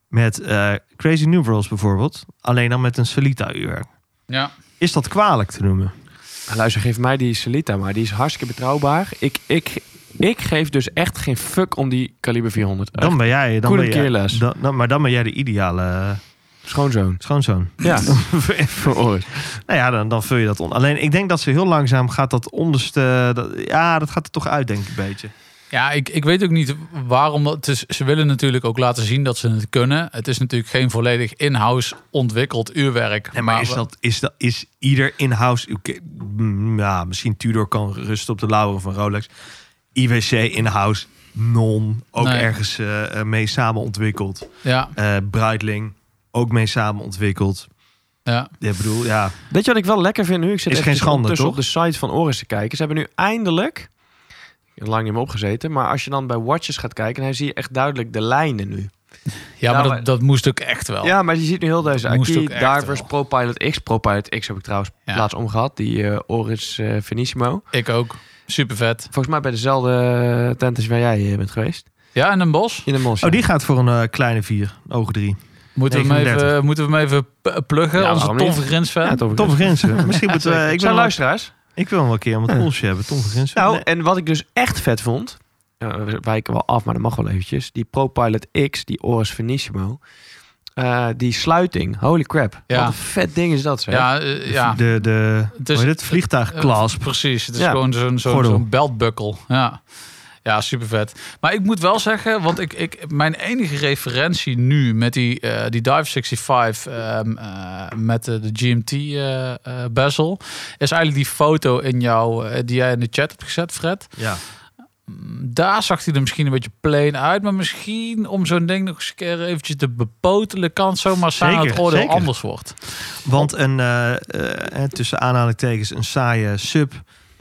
[SPEAKER 3] met eh, Crazy Numerals bijvoorbeeld... alleen dan met een Solita-uur.
[SPEAKER 2] Ja.
[SPEAKER 3] Is dat kwalijk te noemen?
[SPEAKER 5] Ah, luister, geef mij die Celita, maar die is hartstikke betrouwbaar. Ik, ik, ik geef dus echt geen fuck om die kaliber 400. Echt.
[SPEAKER 3] Dan ben jij... Dan
[SPEAKER 5] Goede
[SPEAKER 3] ben jij
[SPEAKER 5] keerles.
[SPEAKER 3] dan, dan- maar dan ben jij de ideale eh,
[SPEAKER 5] Schoonzoon.
[SPEAKER 3] schoonzoon.
[SPEAKER 5] Ja, voor ooit.
[SPEAKER 3] Nou ja, dan, dan vul je dat on. Alleen ik denk dat ze heel langzaam gaat dat onderste... dat- ja, dat gaat er toch uit, denk ik, een beetje.
[SPEAKER 2] Ja, ik, ik weet ook niet waarom. Dat, het is, ze willen natuurlijk ook laten zien dat ze het kunnen. Het is natuurlijk geen volledig in-house ontwikkeld uurwerk.
[SPEAKER 3] Nee, maar is,
[SPEAKER 2] we-
[SPEAKER 3] dat, is, dat, is ieder in-house... oké, mm, ja, misschien Tudor kan rusten op de lauweren van Rolex. IWC in-house, non, ook
[SPEAKER 2] Nee.
[SPEAKER 3] ergens eh, eh, mee samen ontwikkeld.
[SPEAKER 2] Ja,
[SPEAKER 3] Eh Breitling, ook mee samen ontwikkeld.
[SPEAKER 2] ja.
[SPEAKER 3] Ja, ik bedoel, ja.
[SPEAKER 5] Weet je wat ik wel lekker vind nu? Ik zit
[SPEAKER 3] Is
[SPEAKER 5] eventjes
[SPEAKER 3] geen schande,
[SPEAKER 5] ondertussen
[SPEAKER 3] toch?
[SPEAKER 5] op de site van Oris te kijken. Ze hebben nu eindelijk, lang niet meer opgezeten, maar als je dan bij Watches gaat kijken, dan zie je echt duidelijk de lijnen nu.
[SPEAKER 2] ja maar,
[SPEAKER 5] maar-
[SPEAKER 2] dat, dat moest ook echt wel.
[SPEAKER 5] Ja, maar je ziet nu heel deze
[SPEAKER 2] Dat moest
[SPEAKER 5] Aki,
[SPEAKER 2] ook echt
[SPEAKER 5] Divers,
[SPEAKER 2] wel.
[SPEAKER 5] ProPilot X. ProPilot X heb ik trouwens
[SPEAKER 2] Ja.
[SPEAKER 5] laatst omgehad, die eh, Oris eh, Finissimo.
[SPEAKER 2] Ik ook. Super vet.
[SPEAKER 5] Volgens mij bij dezelfde tent als waar jij eh, bent geweest.
[SPEAKER 2] Ja, en een bos.
[SPEAKER 5] In de Mos.
[SPEAKER 3] Oh, die gaat voor een eh, kleine vier, ogen drie.
[SPEAKER 2] Moeten we, hem
[SPEAKER 3] 39.
[SPEAKER 2] even, moeten we hem even p- pluggen?
[SPEAKER 5] Ja,
[SPEAKER 2] onze
[SPEAKER 5] waarom niet?
[SPEAKER 2] Tom Grinsven.
[SPEAKER 5] ja, Tom
[SPEAKER 3] Tom
[SPEAKER 5] Vergeet.
[SPEAKER 3] Grinsen. Misschien moeten we... Ik wil,
[SPEAKER 5] Zijn
[SPEAKER 3] hem wel-
[SPEAKER 5] luisteraars?
[SPEAKER 3] ik wil hem wel een keer om het polsje hebben. Tom Grinsen.
[SPEAKER 5] Nou,
[SPEAKER 3] Nee.
[SPEAKER 5] en wat ik dus echt vet vond. eh, we wijken wel af, maar dat mag wel eventjes. Die ProPilot X, die Oris Finissimo. eh, die sluiting, holy crap.
[SPEAKER 2] Ja.
[SPEAKER 5] Wat een vet ding is dat, zeg.
[SPEAKER 2] ja, eh, ja. Dus
[SPEAKER 3] De, de,
[SPEAKER 2] Het
[SPEAKER 3] het
[SPEAKER 2] is-
[SPEAKER 3] is, het vliegtuigklasp.
[SPEAKER 2] Eh, Precies, het is
[SPEAKER 5] Ja.
[SPEAKER 2] gewoon zo'n zo'n
[SPEAKER 3] Gordel.
[SPEAKER 2] zo'n beltbukkel. Ja. ja, super vet. Maar ik moet wel zeggen, want ik, ik, mijn enige referentie nu met die, eh, die Dive 65 ehm, eh, met de, de GMT eh eh, bezel, is eigenlijk die foto in jou, eh, die jij in de chat hebt gezet, Fred. Mm,
[SPEAKER 3] Ja.
[SPEAKER 2] Daar zag hij er misschien een beetje plain uit, maar misschien om zo'n ding nog eens een keer eventjes te bepotelen, kan het zomaar zijn dat het
[SPEAKER 3] Zeker,
[SPEAKER 2] oordeel
[SPEAKER 3] zeker.
[SPEAKER 2] anders wordt.
[SPEAKER 3] Want een, eh, eh, eh, tussen aanhalingstekens, een saaie sub,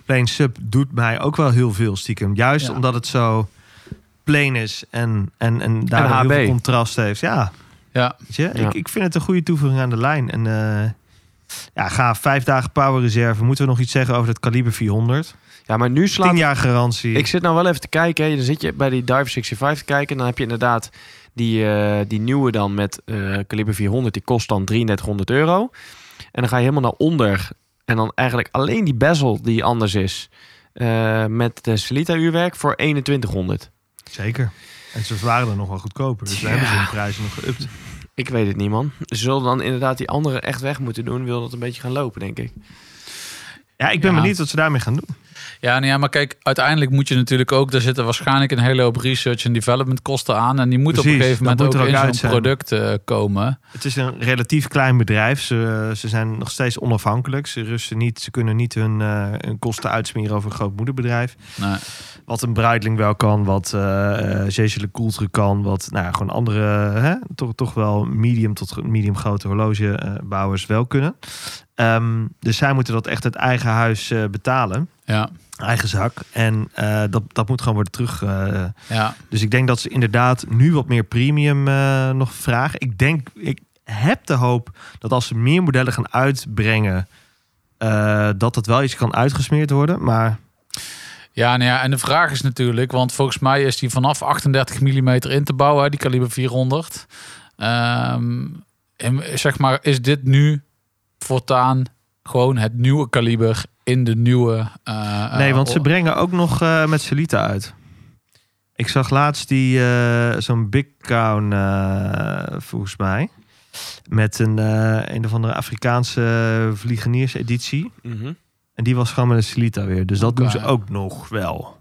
[SPEAKER 3] plain sub, doet mij ook wel heel veel stiekem. Juist
[SPEAKER 2] Ja.
[SPEAKER 3] omdat het zo plain is en, en, en daar heel
[SPEAKER 5] HB.
[SPEAKER 3] veel contrast heeft. Ja,
[SPEAKER 2] Ja,
[SPEAKER 3] weet je?
[SPEAKER 5] Ja.
[SPEAKER 3] Ik, ik vind het een goede toevoeging aan de lijn. En eh, ja, ga vijf dagen power reserve. Moeten we nog iets zeggen over dat kaliber 400?
[SPEAKER 5] Ja, maar nu slaat
[SPEAKER 3] Tien jaar garantie.
[SPEAKER 5] Ik zit nou wel even te kijken. hè. Dan zit je bij die Diver 65 te kijken. En dan heb je inderdaad die, eh, die nieuwe dan met eh kaliber 400. Die kost dan 3300 euro. En dan ga je helemaal naar onder. En dan eigenlijk alleen die bezel die anders is. eh, met de Celita-uurwerk voor 2100.
[SPEAKER 3] Zeker. En ze waren er nog wel goedkoper. Dus we
[SPEAKER 5] Ja.
[SPEAKER 3] hebben ze de prijzen nog geüpt.
[SPEAKER 5] Ik weet het niet, man. Ze zullen dan inderdaad die andere echt weg moeten doen. Wil dat een beetje gaan lopen, denk ik.
[SPEAKER 3] Ja, ik ben
[SPEAKER 2] Ja.
[SPEAKER 3] benieuwd wat ze daarmee gaan doen.
[SPEAKER 2] Ja, nou ja, maar kijk, uiteindelijk moet je natuurlijk ook... Daar zitten waarschijnlijk een hele hoop research en development kosten aan. En die moet op
[SPEAKER 3] Precies,
[SPEAKER 2] een gegeven
[SPEAKER 3] dat
[SPEAKER 2] moment ook,
[SPEAKER 3] moet er ook
[SPEAKER 2] in
[SPEAKER 3] uit
[SPEAKER 2] zo'n
[SPEAKER 3] zijn.
[SPEAKER 2] product eh, komen.
[SPEAKER 3] Het is een relatief klein bedrijf. Ze, ze zijn nog steeds onafhankelijk. Ze, rusten niet, ze kunnen niet hun, eh, hun kosten uitsmeren over een groot moederbedrijf.
[SPEAKER 2] Nee.
[SPEAKER 3] Wat een Breitling wel kan, wat eh eh, Jeetje Le Coultre kan. Wat nou, ja, gewoon andere, hè, toch, toch wel medium tot gro- medium grote horlogebouwers wel kunnen. Ehm, dus zij moeten dat echt het eigen huis eh, betalen.
[SPEAKER 2] Ja,
[SPEAKER 3] Eigen zak. En eh, dat, dat moet gewoon worden terug... eh,
[SPEAKER 2] ja.
[SPEAKER 3] Dus ik denk dat ze inderdaad nu wat meer premium eh, nog vragen. Ik denk, ik heb de hoop dat als ze meer modellen gaan uitbrengen, eh, dat dat wel iets kan uitgesmeerd worden. Maar
[SPEAKER 2] Ja, nou ja, en de vraag is natuurlijk, want volgens mij is die vanaf 38 mm in te bouwen, hè, die kaliber 400. Ehm, en zeg maar, is dit nu voortaan gewoon het nieuwe kaliber in de nieuwe... eh,
[SPEAKER 3] nee,
[SPEAKER 2] eh,
[SPEAKER 3] want ze brengen ook nog eh, met Celita uit. Ik zag laatst die eh, zo'n Big Crown, eh, volgens mij. Met een, eh, een of andere Afrikaanse vliegenierseditie. En die was gewoon met een Celita weer. Dus dat
[SPEAKER 2] Oké.
[SPEAKER 3] doen ze ook nog wel.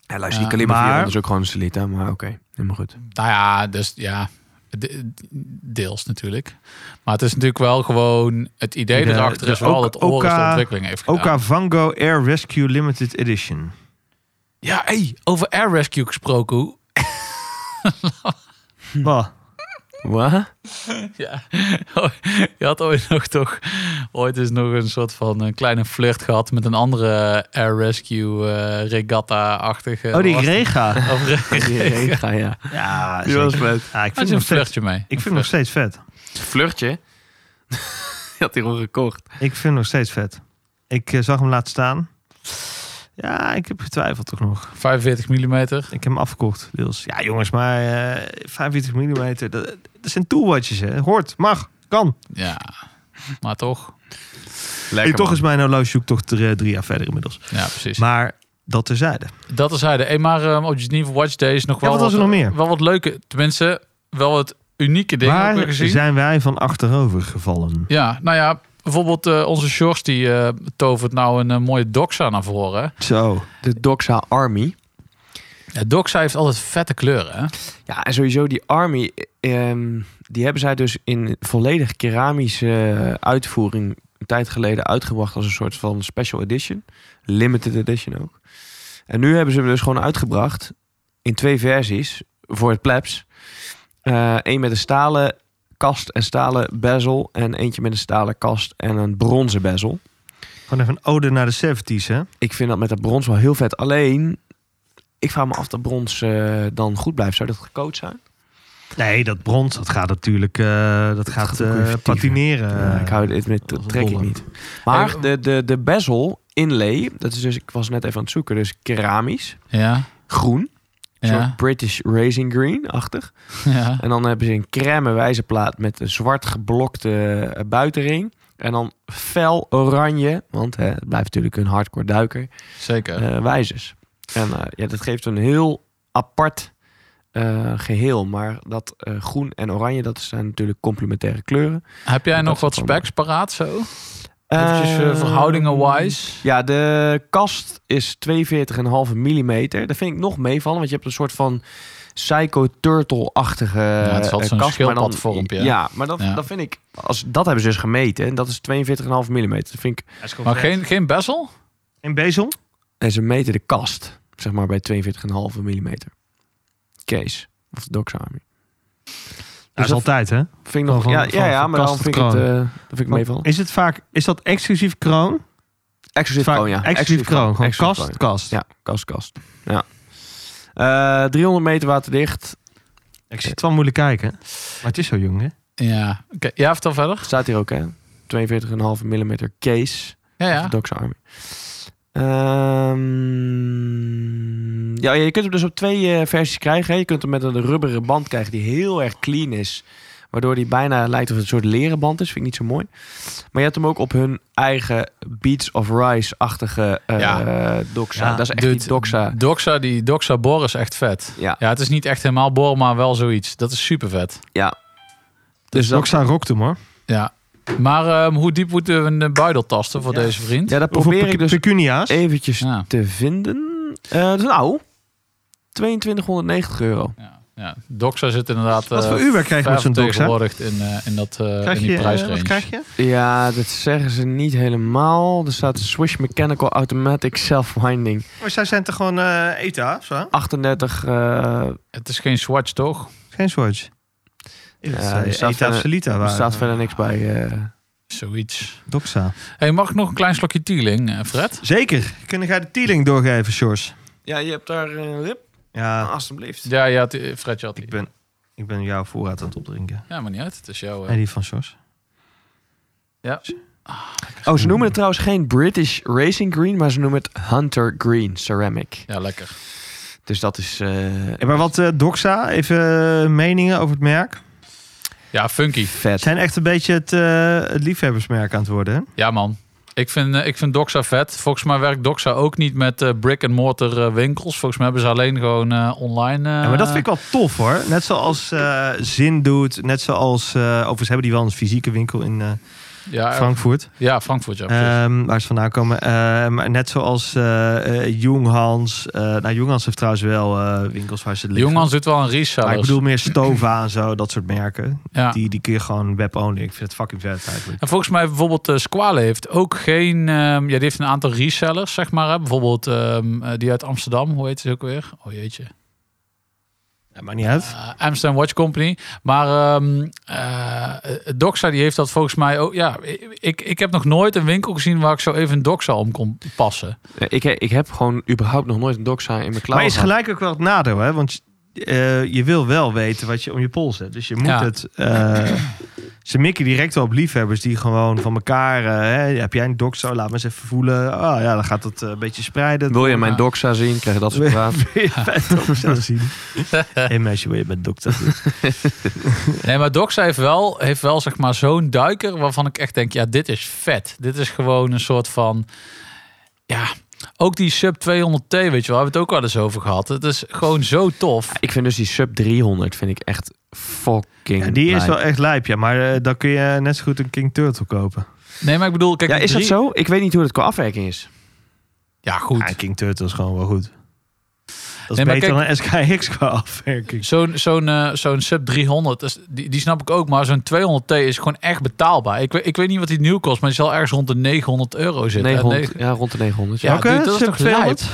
[SPEAKER 5] Ja,
[SPEAKER 2] luister, die
[SPEAKER 5] die
[SPEAKER 2] kaliber
[SPEAKER 5] kaliber
[SPEAKER 3] maar- 400
[SPEAKER 5] is ook gewoon een Celita, maar oké. Helemaal goed.
[SPEAKER 2] Nou ja, dus ja, de- deels natuurlijk. Maar het is natuurlijk wel gewoon, het idee
[SPEAKER 3] De-
[SPEAKER 2] erachter
[SPEAKER 3] de
[SPEAKER 2] is wel
[SPEAKER 3] Oka-
[SPEAKER 2] dat Oris de
[SPEAKER 3] dus Oka-
[SPEAKER 2] ontwikkeling heeft gedaan.
[SPEAKER 3] Oka Vango Air Rescue Limited Edition.
[SPEAKER 2] Ja, hey, over Air Rescue gesproken. hoe-
[SPEAKER 3] Bah.
[SPEAKER 5] Wat?
[SPEAKER 2] Ja, je had ooit nog toch ooit is nog een soort van een kleine flirt gehad met een andere Air Rescue eh, regatta-achtige.
[SPEAKER 3] Oh, die
[SPEAKER 2] was-
[SPEAKER 3] Rega.
[SPEAKER 2] Of re-
[SPEAKER 5] Ja, ja.
[SPEAKER 3] Ja,
[SPEAKER 5] Die was vet.
[SPEAKER 3] Ja, ik
[SPEAKER 2] Had je Ah, een
[SPEAKER 3] vind hem nog steeds,
[SPEAKER 2] flirtje mee?
[SPEAKER 3] ik vind hem nog steeds vet.
[SPEAKER 5] Flirtje? Je had die gewoon gekocht.
[SPEAKER 3] Ik vind hem nog steeds vet. Ik eh, zag hem laten staan. Ja, ik heb getwijfeld toch nog.
[SPEAKER 2] 45 mm.
[SPEAKER 3] Ik heb hem afgekocht, deels. Ja, jongens, maar eh 45 mm, dat, dat zijn toolwatches, hè. Hoort, mag, kan.
[SPEAKER 2] Ja, maar toch.
[SPEAKER 5] Lekker,
[SPEAKER 3] Hey, toch is mijn horlogezoektocht er eh, drie jaar verder inmiddels.
[SPEAKER 2] Ja, precies.
[SPEAKER 3] Maar dat terzijde.
[SPEAKER 2] Dat is hij. Hey, maar ehm, op Geneva Watch Day is nog
[SPEAKER 3] Ja,
[SPEAKER 2] wel
[SPEAKER 3] wat was er nog meer?
[SPEAKER 2] Wel wat leuke, tenminste, wel het unieke ding hebben we
[SPEAKER 3] Waar
[SPEAKER 2] gezien.
[SPEAKER 3] zijn wij van achterover gevallen?
[SPEAKER 2] Ja, nou ja, bijvoorbeeld eh, onze Shores die eh, tovert nou een eh, mooie doxa naar voren.
[SPEAKER 3] Zo.
[SPEAKER 5] De Doxa Army.
[SPEAKER 2] Ja, doxa heeft altijd vette kleuren, hè?
[SPEAKER 5] Ja, en sowieso die Army, eh, ehm, die hebben zij dus in volledig keramische eh, uitvoering een tijd geleden uitgebracht als een soort van special edition. Limited edition ook. En nu hebben ze hem dus gewoon uitgebracht in twee versies voor het plebs. Eén met een stalen kast en stalen bezel en eentje met een stalen kast en een bronzen bezel.
[SPEAKER 3] Gewoon even een ode naar de 70s, hè?
[SPEAKER 5] Ik vind dat met dat brons wel heel vet. Alleen, ik vraag me af of dat brons eh, dan goed blijft. Zou dat gecoat zijn?
[SPEAKER 3] Nee, dat brons, dat gaat natuurlijk eh, dat gaat,
[SPEAKER 5] gaat ook
[SPEAKER 3] eh,
[SPEAKER 5] weer vertieven.
[SPEAKER 3] patineren.
[SPEAKER 5] Ja, ik hou dit met
[SPEAKER 3] Eh, dat is een
[SPEAKER 5] trek ik
[SPEAKER 3] dolle.
[SPEAKER 5] niet. Maar
[SPEAKER 2] Hey,
[SPEAKER 5] de, de, de bezel inlay, dat is dus, ik was net even aan het zoeken, dus keramisch,
[SPEAKER 2] Ja,
[SPEAKER 5] groen, een
[SPEAKER 2] ja,
[SPEAKER 5] soort British Racing Green-achtig.
[SPEAKER 2] ja.
[SPEAKER 5] En dan hebben ze een crème wijzerplaat met een zwart geblokte eh, buitenring. En dan fel oranje, want hè, het blijft natuurlijk een hardcore duiker,
[SPEAKER 2] Zeker.
[SPEAKER 5] eh, wijzers. En eh, ja, dat geeft een heel apart eh, geheel. Maar dat eh, groen en oranje, dat zijn natuurlijk complementaire kleuren.
[SPEAKER 2] Heb jij
[SPEAKER 5] dat
[SPEAKER 2] nog
[SPEAKER 5] is
[SPEAKER 2] wat
[SPEAKER 5] wel mooi.
[SPEAKER 2] specs paraat zo? Eventjes eh, verhoudingen-wise.
[SPEAKER 5] Ehm, Ja, de kast is 42,5 mm. Dat vind ik nog meevallen, want je hebt een soort van Psycho Turtle-achtige
[SPEAKER 2] Ja, het is altijd zo'n
[SPEAKER 5] eh, kast. maar dan-
[SPEAKER 2] schildpadvormpje, hè?
[SPEAKER 5] Ja, maar dat,
[SPEAKER 2] Ja.
[SPEAKER 5] dat vind ik, als, dat hebben ze dus gemeten. En dat is 42,5 mm. Dat vind ik,
[SPEAKER 2] Maar geen, geen bezel?
[SPEAKER 3] En bezel?
[SPEAKER 5] en ze meten de kast, zeg maar, bij 42,5 mm. Case, of Doxami.
[SPEAKER 3] Dat is
[SPEAKER 5] Dus dat
[SPEAKER 3] altijd, hè?
[SPEAKER 5] Vind ik nog,
[SPEAKER 3] Van-
[SPEAKER 5] ja,
[SPEAKER 3] van-
[SPEAKER 5] ja, ja,
[SPEAKER 3] van
[SPEAKER 5] maar dan
[SPEAKER 3] kast tot
[SPEAKER 5] vind ik het,
[SPEAKER 3] kroon.
[SPEAKER 5] eh, dat vind ik meevallen.
[SPEAKER 3] Is het vaak, is dat exclusief kroon?
[SPEAKER 5] Exclusief
[SPEAKER 3] Vaak-
[SPEAKER 5] kroon, ja.
[SPEAKER 3] Exclusief kroon, gewoon
[SPEAKER 5] Exclusief
[SPEAKER 3] kast,
[SPEAKER 5] kroon, ja.
[SPEAKER 3] kast.
[SPEAKER 5] Ja, kast, kast. Ja. Eh, 300 meter waterdicht.
[SPEAKER 3] Ik zit wel moeilijk kijken, maar het is zo jong,
[SPEAKER 5] Dus
[SPEAKER 3] hè?
[SPEAKER 2] Ja. Oké, Jij hebt al verder?
[SPEAKER 5] Staat hier ook, hè? 42,5 mm case.
[SPEAKER 2] Ja, ja.
[SPEAKER 5] Doxa Army. Ehm, ja, je kunt hem dus op twee eh, versies krijgen. Hè. Je kunt hem met een rubberen band krijgen die heel erg clean is. Waardoor die bijna lijkt of het een soort leren band is. Vind ik niet zo mooi. Maar je hebt hem ook op hun eigen Beats of Rice-achtige eh,
[SPEAKER 2] Ja.
[SPEAKER 5] doxa.
[SPEAKER 3] Ja,
[SPEAKER 5] dat is echt
[SPEAKER 2] Dude,
[SPEAKER 5] die doxa.
[SPEAKER 2] Doxa, die Doxa Bor is echt vet.
[SPEAKER 5] Ja.
[SPEAKER 2] Ja, het is niet echt helemaal Bor, maar wel zoiets. Dat is super vet.
[SPEAKER 5] Ja.
[SPEAKER 2] Dus dat,
[SPEAKER 3] Roxa rockt hem hoor.
[SPEAKER 2] ja. Maar ehm, hoe diep moeten we een buidel tasten voor deze vriend?
[SPEAKER 5] ja, dat
[SPEAKER 3] Hoeveel
[SPEAKER 5] probeer ik
[SPEAKER 3] pe-
[SPEAKER 5] dus
[SPEAKER 3] pecunia's?
[SPEAKER 5] eventjes
[SPEAKER 2] Ja.
[SPEAKER 5] te vinden. Eh, dat is een oude. 2290 euro.
[SPEAKER 2] Ja. Doxa zit inderdaad
[SPEAKER 3] Wat voor
[SPEAKER 2] eh,
[SPEAKER 3] uur krijg je met zo'n Doxa?
[SPEAKER 2] vertegenwoordigd in, eh, in, dat, eh,
[SPEAKER 3] Krijg
[SPEAKER 2] in die
[SPEAKER 3] je, eh,
[SPEAKER 2] prijsrange.
[SPEAKER 3] wat krijg je?
[SPEAKER 5] Ja, dat zeggen ze niet helemaal. Er staat Swish Mechanical Automatic Self-Winding.
[SPEAKER 3] Maar Oh, zij zijn toch gewoon eh ETA of zo?
[SPEAKER 5] 38. eh
[SPEAKER 2] Het is geen Swatch, toch?
[SPEAKER 3] Geen Swatch. eh,
[SPEAKER 5] Ja,
[SPEAKER 3] Ja,
[SPEAKER 5] er
[SPEAKER 3] ETA
[SPEAKER 5] staat
[SPEAKER 3] of
[SPEAKER 5] verder-
[SPEAKER 3] Celita
[SPEAKER 5] er
[SPEAKER 3] waren.
[SPEAKER 5] staat verder niks bij. eh.
[SPEAKER 2] Zoiets.
[SPEAKER 3] Doxa.
[SPEAKER 2] Hey, mag ik nog een klein slokje teeling, eh, Fred?
[SPEAKER 3] Zeker. Kunnen jij de tealing doorgeven, Sjors?
[SPEAKER 5] Ja, je hebt daar een lip.
[SPEAKER 2] Ah,
[SPEAKER 3] Ja,
[SPEAKER 5] Alsjeblieft.
[SPEAKER 2] Ja, ja, te- eh, Fred, je had
[SPEAKER 3] ik ben, ik ben jouw voorraad aan het opdrinken.
[SPEAKER 2] Ja, maar niet uit. Het is jouw... eh,
[SPEAKER 3] En die van Sjors.
[SPEAKER 5] Oh, ze noemen het trouwens geen British Racing Green, maar ze noemen het Hunter Green Ceramic.
[SPEAKER 2] Ja, lekker.
[SPEAKER 5] Dus dat is. eh,
[SPEAKER 3] Ja, maar wat eh, Doxa, even eh, meningen over het merk.
[SPEAKER 2] Ja, funky.
[SPEAKER 5] vet.
[SPEAKER 3] Zijn echt een beetje het, eh, het liefhebbersmerk aan het worden. Hè?
[SPEAKER 2] Ja, man. Ik vind, eh, ik vind Doxa vet. Volgens mij werkt Doxa ook niet met eh, brick-and-mortar eh, winkels. Volgens mij hebben ze alleen gewoon eh, online... eh,
[SPEAKER 3] Ja, maar dat vind ik wel tof hoor. Net zoals eh, Zin doet. Net zoals. eh, overigens hebben die wel een fysieke winkel in eh,
[SPEAKER 2] Ja, eh,
[SPEAKER 3] Frankfurt.
[SPEAKER 2] ja Frankfurt, ja. precies.
[SPEAKER 3] ehm, waar ze vandaan komen. Ehm, maar net zoals eh eh, Junghans. eh nou, Junghans heeft trouwens wel eh, winkels waar ze liggen.
[SPEAKER 2] Jongens doet wel een reseller.
[SPEAKER 3] Maar ik bedoel meer Stova en zo. Dat soort merken.
[SPEAKER 2] ja.
[SPEAKER 3] Die, die kun je gewoon web-only. Ik vind het fucking vet eigenlijk.
[SPEAKER 2] En volgens mij bijvoorbeeld eh, Squale heeft ook geen... ehm, ja, die heeft een aantal resellers, zeg maar. Hè. Bijvoorbeeld ehm, eh, die uit Amsterdam. Hoe heet ze ook weer? Oh jeetje.
[SPEAKER 3] Ja, maakt niet uit.
[SPEAKER 2] Eh, Amsterdam Watch Company. Maar ehm eh, Doxa die heeft dat volgens mij ook... Ja, ik, ik heb nog nooit een winkel gezien waar ik zo even een Doxa om kon passen.
[SPEAKER 5] Eh, Ik, ik heb gewoon überhaupt nog nooit een doxa in mijn klauw.
[SPEAKER 3] maar is gelijk ook wel het nadeel, hè? Want eh, je wil wel weten wat je om je pols hebt. Dus je moet
[SPEAKER 2] Ja.
[SPEAKER 3] het. eh, ze mikken direct wel op liefhebbers die gewoon van elkaar. eh, hè, heb jij een dok zo? Laat me eens even voelen. Ah ja, dan gaat het eh, een beetje spreiden.
[SPEAKER 5] Wil je mijn doxa zien? Krijg je dat soort vragen?
[SPEAKER 3] dat zien? Hé meisje, wil je met dokter?
[SPEAKER 2] Nee, maar Doxa heeft wel, heeft wel zeg maar zo'n duiker waarvan ik echt denk... Ja, dit is vet. Dit is gewoon een soort van... Ja, ook die Sub 200T, weet je wel. We hebben het ook al eens over gehad. Het is gewoon zo tof.
[SPEAKER 5] Ik vind dus die sub 300 vind ik echt fucking.
[SPEAKER 3] Ja, die is
[SPEAKER 5] lijp.
[SPEAKER 3] wel echt lijp, ja. Maar eh, dan kun je net zo goed een King Turtle kopen.
[SPEAKER 2] Nee, maar ik bedoel... Kijk,
[SPEAKER 5] Ja,
[SPEAKER 2] de
[SPEAKER 5] is dat
[SPEAKER 2] drie-
[SPEAKER 5] zo? Ik weet niet hoe dat qua afwerking is.
[SPEAKER 2] Ja, goed.
[SPEAKER 3] Ja, King Turtle is gewoon wel goed. Dat is
[SPEAKER 2] Nee, maar
[SPEAKER 3] beter
[SPEAKER 2] kijk-
[SPEAKER 3] dan een SKX qua afwerking.
[SPEAKER 2] Zo'n zo'n eh, zo'n sub 300, is- die, die snap ik ook, maar zo'n 200T is gewoon echt betaalbaar. Ik, weet- ik weet niet wat die nieuw kost, maar die zal ergens rond de 900 euro zitten.
[SPEAKER 5] 900,
[SPEAKER 2] eh, Negen-
[SPEAKER 5] ja, rond de 900.
[SPEAKER 2] Ja,
[SPEAKER 3] Welke?
[SPEAKER 2] dude, dat is
[SPEAKER 3] Sub
[SPEAKER 2] toch lijp?
[SPEAKER 3] 200?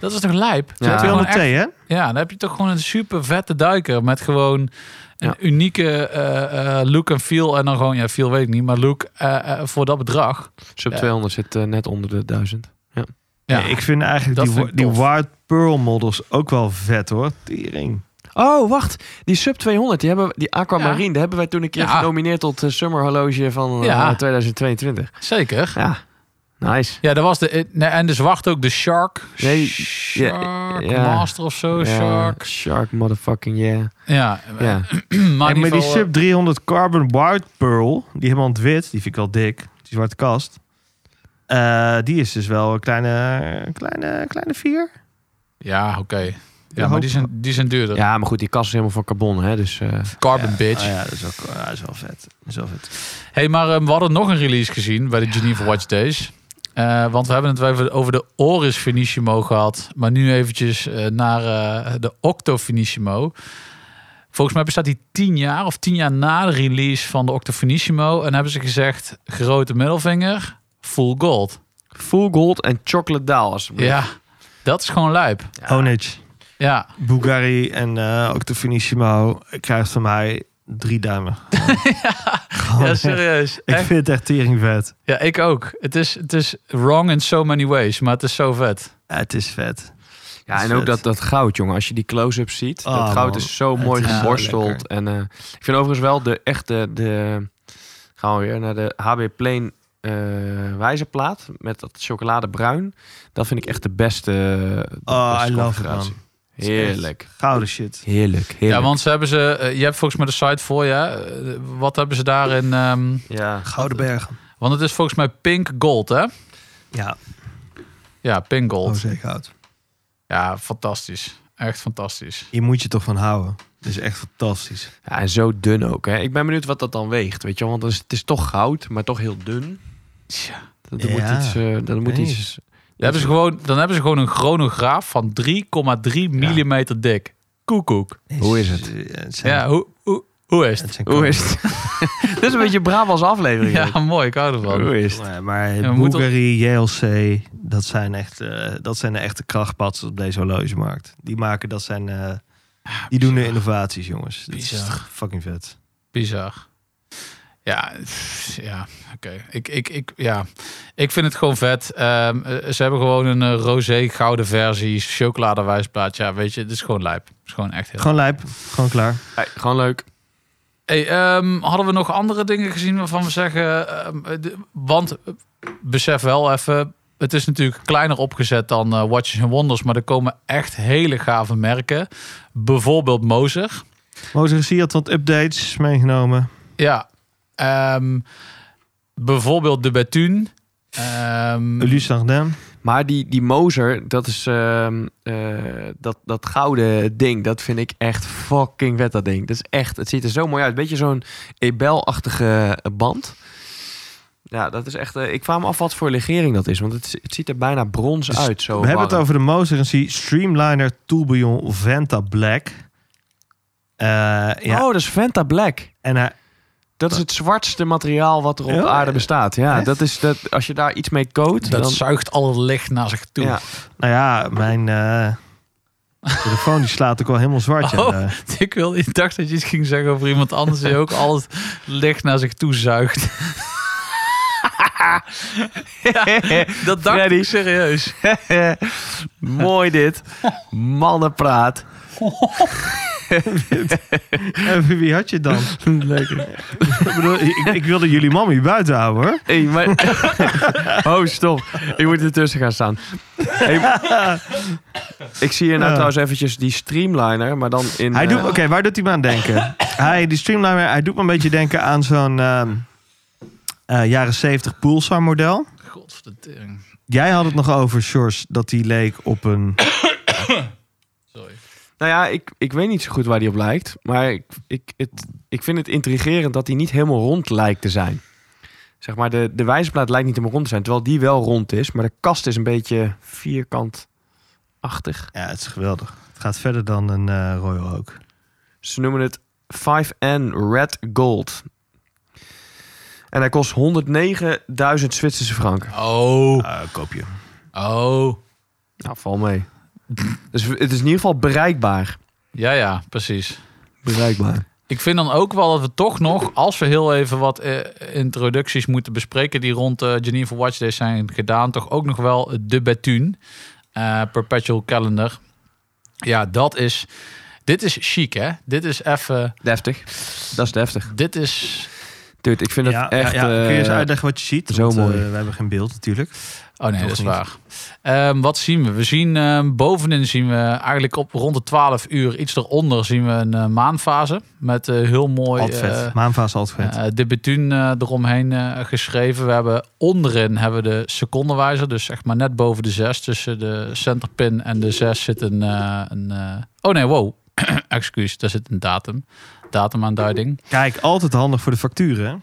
[SPEAKER 2] Dat is toch lijp?
[SPEAKER 5] Ja.
[SPEAKER 2] Ja.
[SPEAKER 3] 200 T, hè?
[SPEAKER 2] ja, dan heb je toch gewoon een super vette duiker met gewoon een
[SPEAKER 5] Ja.
[SPEAKER 2] unieke eh, eh, look en feel. En dan gewoon, ja, feel weet ik niet, maar look eh, eh, voor dat bedrag.
[SPEAKER 5] Sub
[SPEAKER 2] Ja.
[SPEAKER 5] 200 zit eh, net onder de 1000.
[SPEAKER 2] Ja,
[SPEAKER 3] Nee, ik vind eigenlijk
[SPEAKER 2] Dat
[SPEAKER 3] die,
[SPEAKER 2] vind ik
[SPEAKER 3] die
[SPEAKER 2] tof.
[SPEAKER 3] Wild Pearl models ook wel vet hoor. Tering.
[SPEAKER 5] Oh, wacht. Die Sub 200, die, hebben, we- die Aquamarine,
[SPEAKER 2] Ja.
[SPEAKER 5] die hebben wij toen een keer
[SPEAKER 2] Ja.
[SPEAKER 5] genomineerd tot eh, Summer Horloge van eh,
[SPEAKER 2] Ja.
[SPEAKER 5] 2022.
[SPEAKER 2] zeker.
[SPEAKER 5] Ja, nice.
[SPEAKER 2] Ja, dat was de. eh, Nee, en de zwart ook, de Shark.
[SPEAKER 5] Nee,
[SPEAKER 2] Shark
[SPEAKER 5] ja, ja.
[SPEAKER 2] Master of zo,
[SPEAKER 5] Ja,
[SPEAKER 2] Oh, Shark.
[SPEAKER 5] Shark, motherfucking yeah.
[SPEAKER 2] Ja,
[SPEAKER 5] Ja.
[SPEAKER 2] maar,
[SPEAKER 3] Hey, maar die
[SPEAKER 2] geval, eh,
[SPEAKER 3] Sub 300 Carbon Wild Pearl, die helemaal in het wit, die vind ik wel dik. Die zwarte kast. Eh, die is dus wel een kleine, kleine, kleine vier.
[SPEAKER 2] eh, Ja, oké. Ja,
[SPEAKER 3] hoop-
[SPEAKER 2] maar die zijn, die zijn duurder.
[SPEAKER 5] Ja, maar goed, die kast is helemaal van carbon, hè. Dus, eh,
[SPEAKER 2] Carbon bitch.
[SPEAKER 3] Ah ja, dat is, ook, ja, dat is wel vet. Dat is wel vet.
[SPEAKER 2] Hey, maar ehm, we hadden nog een release gezien bij de Geneva Watch Days. Eh, want we hebben het even over de Oris Finissimo gehad. Maar nu eventjes eh, naar eh, de Octo Finissimo. Volgens mij bestaat die 10 jaar of 10 jaar na de release van de Octo Finissimo. En hebben ze gezegd, grote middelvinger, full gold.
[SPEAKER 5] full gold en chocolate daal. alsjeblieft.
[SPEAKER 2] Ja, dat is gewoon lijp.
[SPEAKER 5] Oh,
[SPEAKER 3] Honage,
[SPEAKER 2] Ja,
[SPEAKER 3] Bulgari en eh ook de Finissimo krijgt van mij drie duimen. Gewoon
[SPEAKER 2] Oh, ja
[SPEAKER 3] echt.
[SPEAKER 2] serieus.
[SPEAKER 3] ik
[SPEAKER 2] Echt.
[SPEAKER 3] vind het echt tering vet.
[SPEAKER 2] Ja, ik ook. Het is, het is wrong in so many ways, maar het is zo vet.
[SPEAKER 3] het is vet.
[SPEAKER 5] Ja, en
[SPEAKER 3] Vet.
[SPEAKER 5] ook dat, dat goud, jongen. Als je die close-ups ziet,
[SPEAKER 3] Ah,
[SPEAKER 5] dat goud
[SPEAKER 3] man.
[SPEAKER 5] is zo
[SPEAKER 3] Het
[SPEAKER 5] mooi
[SPEAKER 3] is zo
[SPEAKER 5] geborsteld.
[SPEAKER 3] lekker.
[SPEAKER 5] En eh, ik vind overigens wel de echte, de, gaan we weer naar de HB Plain eh wijzerplaat met dat chocoladebruin. Dat vind ik echt de beste. eh, De
[SPEAKER 3] Oh, I love it,
[SPEAKER 5] configuratie.
[SPEAKER 3] man.
[SPEAKER 5] Heerlijk.
[SPEAKER 3] Gouden shit.
[SPEAKER 5] Heerlijk, heerlijk.
[SPEAKER 2] Ja, want ze hebben ze, eh, je hebt volgens mij de site voor je. hè? Eh, Wat hebben ze daarin? ehm,
[SPEAKER 5] Ja.
[SPEAKER 3] Gouden bergen.
[SPEAKER 2] want het is volgens mij pink gold, hè?
[SPEAKER 3] Ja,
[SPEAKER 2] Ja, pink
[SPEAKER 3] Oh,
[SPEAKER 2] gold.
[SPEAKER 3] rozeegoud.
[SPEAKER 2] Ja, fantastisch. Echt fantastisch.
[SPEAKER 3] Hier moet je toch van houden. Dat is echt fantastisch.
[SPEAKER 5] Ja, en zo dun ook. Hè. Ik ben benieuwd wat dat dan weegt. Weet je, wel, want het is, het is toch goud, maar toch heel dun.
[SPEAKER 2] Ja.
[SPEAKER 5] Dat
[SPEAKER 3] Ja.
[SPEAKER 5] moet iets. eh, dat moet
[SPEAKER 3] Nee.
[SPEAKER 5] iets
[SPEAKER 2] Dan, hebben ze gewoon, dan hebben ze gewoon een chronograaf van 3,3 millimeter dik. Koekoek.
[SPEAKER 5] Hoe is het?
[SPEAKER 3] Eh, het zijn,
[SPEAKER 2] Ja, hoe, hoe, hoe is het?
[SPEAKER 3] het zijn
[SPEAKER 5] Hoe is het? Dit is een beetje Brabants aflevering.
[SPEAKER 2] Ja, mooi. Ik hou
[SPEAKER 5] ook.
[SPEAKER 2] ervan.
[SPEAKER 5] Hoe is het?
[SPEAKER 3] Maar, maar
[SPEAKER 2] we moeten-
[SPEAKER 3] Bulgari, JLC, dat zijn, echt, eh, dat zijn de echte krachtpatsers op deze horlogemarkt. Die maken, dat zijn... eh, die doen de innovaties, jongens. Dat is
[SPEAKER 2] Bizar.
[SPEAKER 3] toch fucking vet.
[SPEAKER 2] Bizar. Ja, pff, ja oké. Ik, ik, ik, ja. ik vind het gewoon vet. Ehm, eh, ze hebben gewoon een eh, roze gouden versie, chocoladewijsplaat. Ja, weet je, het is gewoon lijp. Het is gewoon echt heel
[SPEAKER 3] Gewoon lijp. Gewoon klaar.
[SPEAKER 5] Hey, gewoon leuk.
[SPEAKER 2] Hey, ehm, hadden we nog andere dingen gezien waarvan we zeggen... ehm, eh, de- want, eh, besef wel even... Het is natuurlijk kleiner opgezet dan eh, Watches and Wonders... maar er komen echt hele gave merken. Bijvoorbeeld Moser.
[SPEAKER 3] Mozes Sia had wat updates meegenomen.
[SPEAKER 2] Ja. ehm, bijvoorbeeld de Bethune. Ehm,
[SPEAKER 3] Luce Dardenne.
[SPEAKER 5] Maar die, die Moser, dat is ehm, eh, dat, dat gouden ding, dat vind ik echt fucking vet, dat ding. Dat is echt, het ziet er zo mooi uit. Beetje zo'n Ebel-achtige band. Ja, dat is echt. eh, ik kwam af wat voor legering dat is, want het, het ziet er bijna brons
[SPEAKER 3] Dus
[SPEAKER 5] uit. Zo
[SPEAKER 3] We hebben het
[SPEAKER 5] warm.
[SPEAKER 3] over de Moser C Streamliner Tourbillon Venta Black. Eh, ja,
[SPEAKER 5] Oh, dat is Venta Black.
[SPEAKER 3] en hij,
[SPEAKER 5] Dat is het zwartste materiaal wat er op
[SPEAKER 3] Ja.
[SPEAKER 5] aarde bestaat. Ja,
[SPEAKER 3] Echt?
[SPEAKER 5] dat is dat. Als je daar iets mee coat,
[SPEAKER 2] dat
[SPEAKER 5] dan
[SPEAKER 2] zuigt alle licht naar zich toe.
[SPEAKER 5] Ja.
[SPEAKER 3] nou ja, mijn eh, telefoon die slaat ook wel helemaal zwart. ja.
[SPEAKER 2] Oh.
[SPEAKER 3] Eh,
[SPEAKER 2] Ik, wil, ik dacht dat je iets ging zeggen over iemand anders... die ook al het licht naar zich toe zuigt. Dat dacht
[SPEAKER 5] Freddy.
[SPEAKER 2] ik serieus.
[SPEAKER 5] Mooi dit. Mannenpraat.
[SPEAKER 3] en Eh, wie- wie had je dan?
[SPEAKER 5] Lekker.
[SPEAKER 3] ik, bedoel, ik, ik wilde jullie mammy buiten houden hoor.
[SPEAKER 5] Hey, maar... Oh, stop. Ik moet ertussen gaan staan. Hey, Ik zie hier nou
[SPEAKER 3] Ja.
[SPEAKER 5] trouwens eventjes die streamliner, maar dan in...
[SPEAKER 3] Hij
[SPEAKER 5] eh,
[SPEAKER 3] doet, oké, waar doet hij me aan denken? hij, die Streamliner, hij doet me een beetje denken aan zo'n ehm, eh, jaren 70 Pulsar model.
[SPEAKER 2] Godverdering.
[SPEAKER 3] Jij had het nog over, Shores, dat die leek op een...
[SPEAKER 2] Sorry.
[SPEAKER 5] Nou ja, ik, ik weet niet zo goed waar die op lijkt. Maar ik, ik, het, ik vind het intrigerend dat die niet helemaal rond lijkt te zijn. Zeg maar, de, de wijzerplaat lijkt niet helemaal rond te zijn. Terwijl die wel rond is, maar de kast is een beetje vierkantachtig.
[SPEAKER 3] Ja, het is geweldig. Het gaat verder dan een eh, Royal Oak.
[SPEAKER 5] Ze noemen het 5N Red Gold. En hij kost 109.000 Zwitserse franken.
[SPEAKER 2] Oh,
[SPEAKER 3] Eh, koop je.
[SPEAKER 2] oh.
[SPEAKER 5] Nou, val mee. Dus het is in ieder geval bereikbaar.
[SPEAKER 2] Ja, ja, precies.
[SPEAKER 5] Bereikbaar.
[SPEAKER 2] Ik vind dan ook wel dat we toch nog, als we heel even wat eh, introducties moeten bespreken die rond eh, Geneva Watch Day zijn gedaan, toch ook nog wel de Bethune eh, Perpetual Calendar. Ja, dat is. Dit is chic, hè? Dit is even.
[SPEAKER 5] Deftig. Dat is deftig.
[SPEAKER 2] Dit is.
[SPEAKER 5] Dude, ik vind het
[SPEAKER 3] ja,
[SPEAKER 5] echt...
[SPEAKER 3] ja, ja. Kun je eens
[SPEAKER 5] eh,
[SPEAKER 3] uitleggen wat je ziet?
[SPEAKER 5] zo
[SPEAKER 3] Want, eh,
[SPEAKER 5] mooi.
[SPEAKER 3] we hebben geen beeld natuurlijk.
[SPEAKER 2] Oh nee,
[SPEAKER 3] Toch
[SPEAKER 2] dat is
[SPEAKER 3] niet.
[SPEAKER 2] waar. Ehm, wat zien we? We zien ehm, bovenin zien we eigenlijk op rond de 12 uur, iets eronder, zien we een eh, maanfase met eh, heel mooi.
[SPEAKER 3] Altijd vet.
[SPEAKER 2] eh,
[SPEAKER 3] Maanfase altijd vet.
[SPEAKER 2] Eh, de betune eh, eromheen eh, geschreven. We hebben onderin hebben we de secondenwijzer, dus zeg maar net boven de 6. Tussen de centerpin en de 6 zit een. eh, een eh, oh nee, wow. Excuus, daar zit een datum. Datumaanduiding.
[SPEAKER 3] Kijk, altijd handig voor de facturen. hè?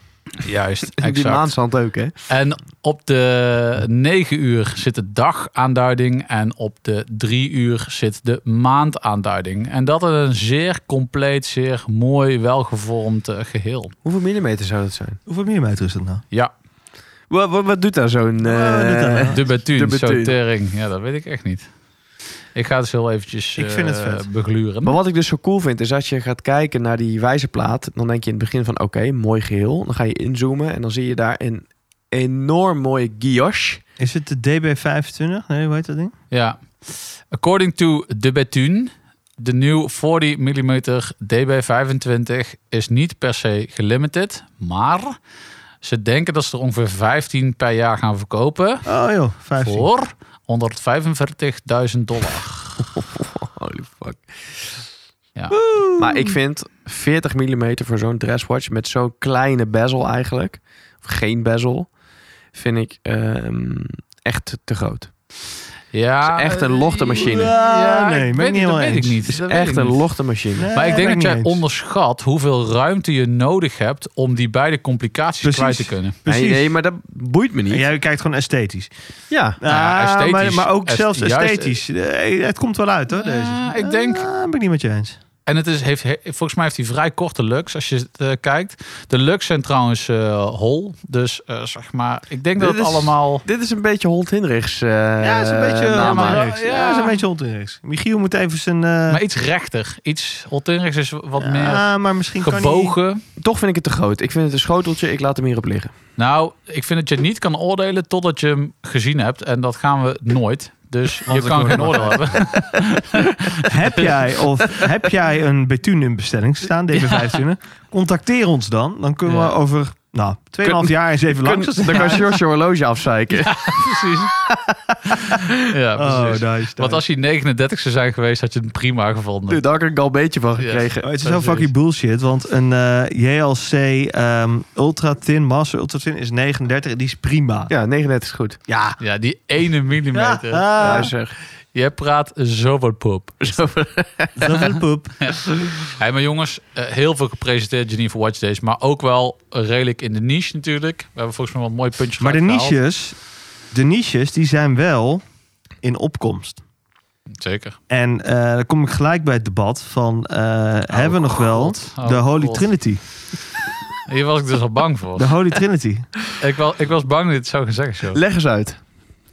[SPEAKER 2] Juist,
[SPEAKER 5] die maanstand ook, hè?
[SPEAKER 2] En op de 9 uur zit de dagaanduiding en op de 3 uur zit de maandaanduiding. En dat is een zeer compleet, zeer mooi, welgevormd eh, geheel.
[SPEAKER 5] Hoeveel millimeter zou dat zijn?
[SPEAKER 3] Hoeveel millimeter is dat nou?
[SPEAKER 2] Ja,
[SPEAKER 5] Wat, wat, wat doet daar zo'n...
[SPEAKER 3] Wat Oh, doet daar, hè?
[SPEAKER 5] eh
[SPEAKER 2] De
[SPEAKER 5] De
[SPEAKER 2] Bethune,
[SPEAKER 5] Bethune.
[SPEAKER 2] zo tering. Ja, dat weet ik echt niet. Ik ga het heel eventjes
[SPEAKER 3] Ik vind het
[SPEAKER 2] eh,
[SPEAKER 3] vet.
[SPEAKER 2] begluren.
[SPEAKER 5] Maar wat ik dus zo cool vind, is als je gaat kijken naar die wijzerplaat... dan denk je in het begin van, oké, mooi geheel. Dan ga je inzoomen en dan zie je daar een enorm mooie guilloche.
[SPEAKER 3] Is het de DB25? Nee, hoe heet dat ding?
[SPEAKER 2] Ja. According to de Bethune, de nieuw 40 mm DB25 is niet per se gelimited, maar ze denken dat ze er ongeveer 15 per jaar gaan verkopen
[SPEAKER 3] Oh joh, 15.
[SPEAKER 2] voor 145.000 dollar.
[SPEAKER 5] Holy fuck.
[SPEAKER 2] Ja.
[SPEAKER 5] Maar ik vind 40 mm voor zo'n dresswatch met zo'n kleine bezel eigenlijk, of geen bezel, vind ik ehm, echt te groot.
[SPEAKER 2] ja.
[SPEAKER 5] Het is echt een lochte machine.
[SPEAKER 2] Ja,
[SPEAKER 3] nee, ben ik
[SPEAKER 2] ik weet niet, dat
[SPEAKER 3] niet helemaal
[SPEAKER 2] weet ik
[SPEAKER 3] eens.
[SPEAKER 2] niet.
[SPEAKER 5] Het is
[SPEAKER 2] Dat weet
[SPEAKER 5] echt
[SPEAKER 2] ik
[SPEAKER 5] een
[SPEAKER 2] niet.
[SPEAKER 5] lochte machine.
[SPEAKER 3] Nee,
[SPEAKER 2] Maar ik
[SPEAKER 3] ben
[SPEAKER 2] denk dat jij
[SPEAKER 3] Eh, niet eens.
[SPEAKER 2] onderschat hoeveel ruimte je nodig hebt om die beide complicaties
[SPEAKER 3] Precies.
[SPEAKER 2] kwijt te kunnen.
[SPEAKER 3] Precies.
[SPEAKER 5] Nee, nee, maar dat boeit me niet.
[SPEAKER 3] En
[SPEAKER 5] Ja,
[SPEAKER 3] jij kijkt gewoon esthetisch.
[SPEAKER 2] ja,
[SPEAKER 3] Ah,
[SPEAKER 2] esthetisch.
[SPEAKER 3] Maar, maar ook
[SPEAKER 2] Est-
[SPEAKER 3] zelfs
[SPEAKER 2] juist-
[SPEAKER 3] esthetisch. Eh, het komt wel uit hoor, deze.
[SPEAKER 2] Ja, ik denk-
[SPEAKER 3] Ah, ben ik niet met je eens.
[SPEAKER 2] En het is, heeft, he- volgens mij heeft hij vrij korte looks als je het eh, kijkt. De looks zijn trouwens eh, hol. Dus eh, zeg maar, ik denk dat
[SPEAKER 5] Dit
[SPEAKER 2] het
[SPEAKER 5] is-
[SPEAKER 2] allemaal...
[SPEAKER 5] Dit is een beetje Holt Hendricks. eh,
[SPEAKER 3] ja, het is een beetje
[SPEAKER 5] namaak.
[SPEAKER 2] nou, maar-
[SPEAKER 3] onterecht. Ja,
[SPEAKER 2] Ja.
[SPEAKER 3] het is een beetje onterecht. Michiel moet even zijn... eh,
[SPEAKER 2] Maar iets rechter. Iets... Holtenrix is wat meer
[SPEAKER 3] ja, maar misschien kan hij...
[SPEAKER 2] gebogen.
[SPEAKER 5] Toch vind ik het te groot. Ik vind het een schoteltje. Ik laat hem hierop liggen.
[SPEAKER 2] Nou, ik vind dat je het niet kan oordelen totdat je hem gezien hebt. En dat gaan we nooit. Dus je
[SPEAKER 3] Want we
[SPEAKER 2] kan geen
[SPEAKER 3] kunnen-
[SPEAKER 2] oordeel hebben.
[SPEAKER 3] Heb jij, of, heb jij een Bethune in bestelling staan, DB15? Contacteer ons dan. Dan kunnen
[SPEAKER 2] Ja.
[SPEAKER 3] we over nou, 2,5 jaar eens even langs.
[SPEAKER 5] Dan kan George je horloge afzeiken.
[SPEAKER 2] precies. ja,
[SPEAKER 3] Oh,
[SPEAKER 2] precies.
[SPEAKER 3] nice, nice.
[SPEAKER 2] Want als hij 39ste zijn geweest, had je het prima gevonden.
[SPEAKER 5] Dude, daar had ik al een beetje van
[SPEAKER 2] Yes.
[SPEAKER 5] gekregen.
[SPEAKER 3] Oh, het is zo
[SPEAKER 2] Precies.
[SPEAKER 3] fucking bullshit, want een eh, JLC ehm, Ultra Thin, Master Ultra Thin is 39 die is prima.
[SPEAKER 5] Ja, 39 is goed.
[SPEAKER 3] Ja.
[SPEAKER 2] Ja, die ene
[SPEAKER 3] Ja,
[SPEAKER 2] millimeter.
[SPEAKER 3] ah,
[SPEAKER 5] Ja, zeg.
[SPEAKER 2] Je praat zo wat poep.
[SPEAKER 3] dat is poep.
[SPEAKER 2] Hey, maar jongens, eh, heel veel gepresenteerd Geneva Watch Days. Maar ook wel redelijk in de niche natuurlijk. We hebben volgens mij wat mooi puntje
[SPEAKER 3] Maar de niches, de niches, die zijn wel in opkomst.
[SPEAKER 2] Zeker.
[SPEAKER 3] En eh dan kom ik gelijk bij het debat van, eh, hebben we nog wel
[SPEAKER 2] God. Oh,
[SPEAKER 3] de Holy
[SPEAKER 2] God.
[SPEAKER 3] Trinity?
[SPEAKER 2] Hier was ik dus al bang voor.
[SPEAKER 3] De Holy Trinity.
[SPEAKER 2] Ik, wel, ik was bang dat je het zou gaan zeggen zo.
[SPEAKER 5] Leg eens uit,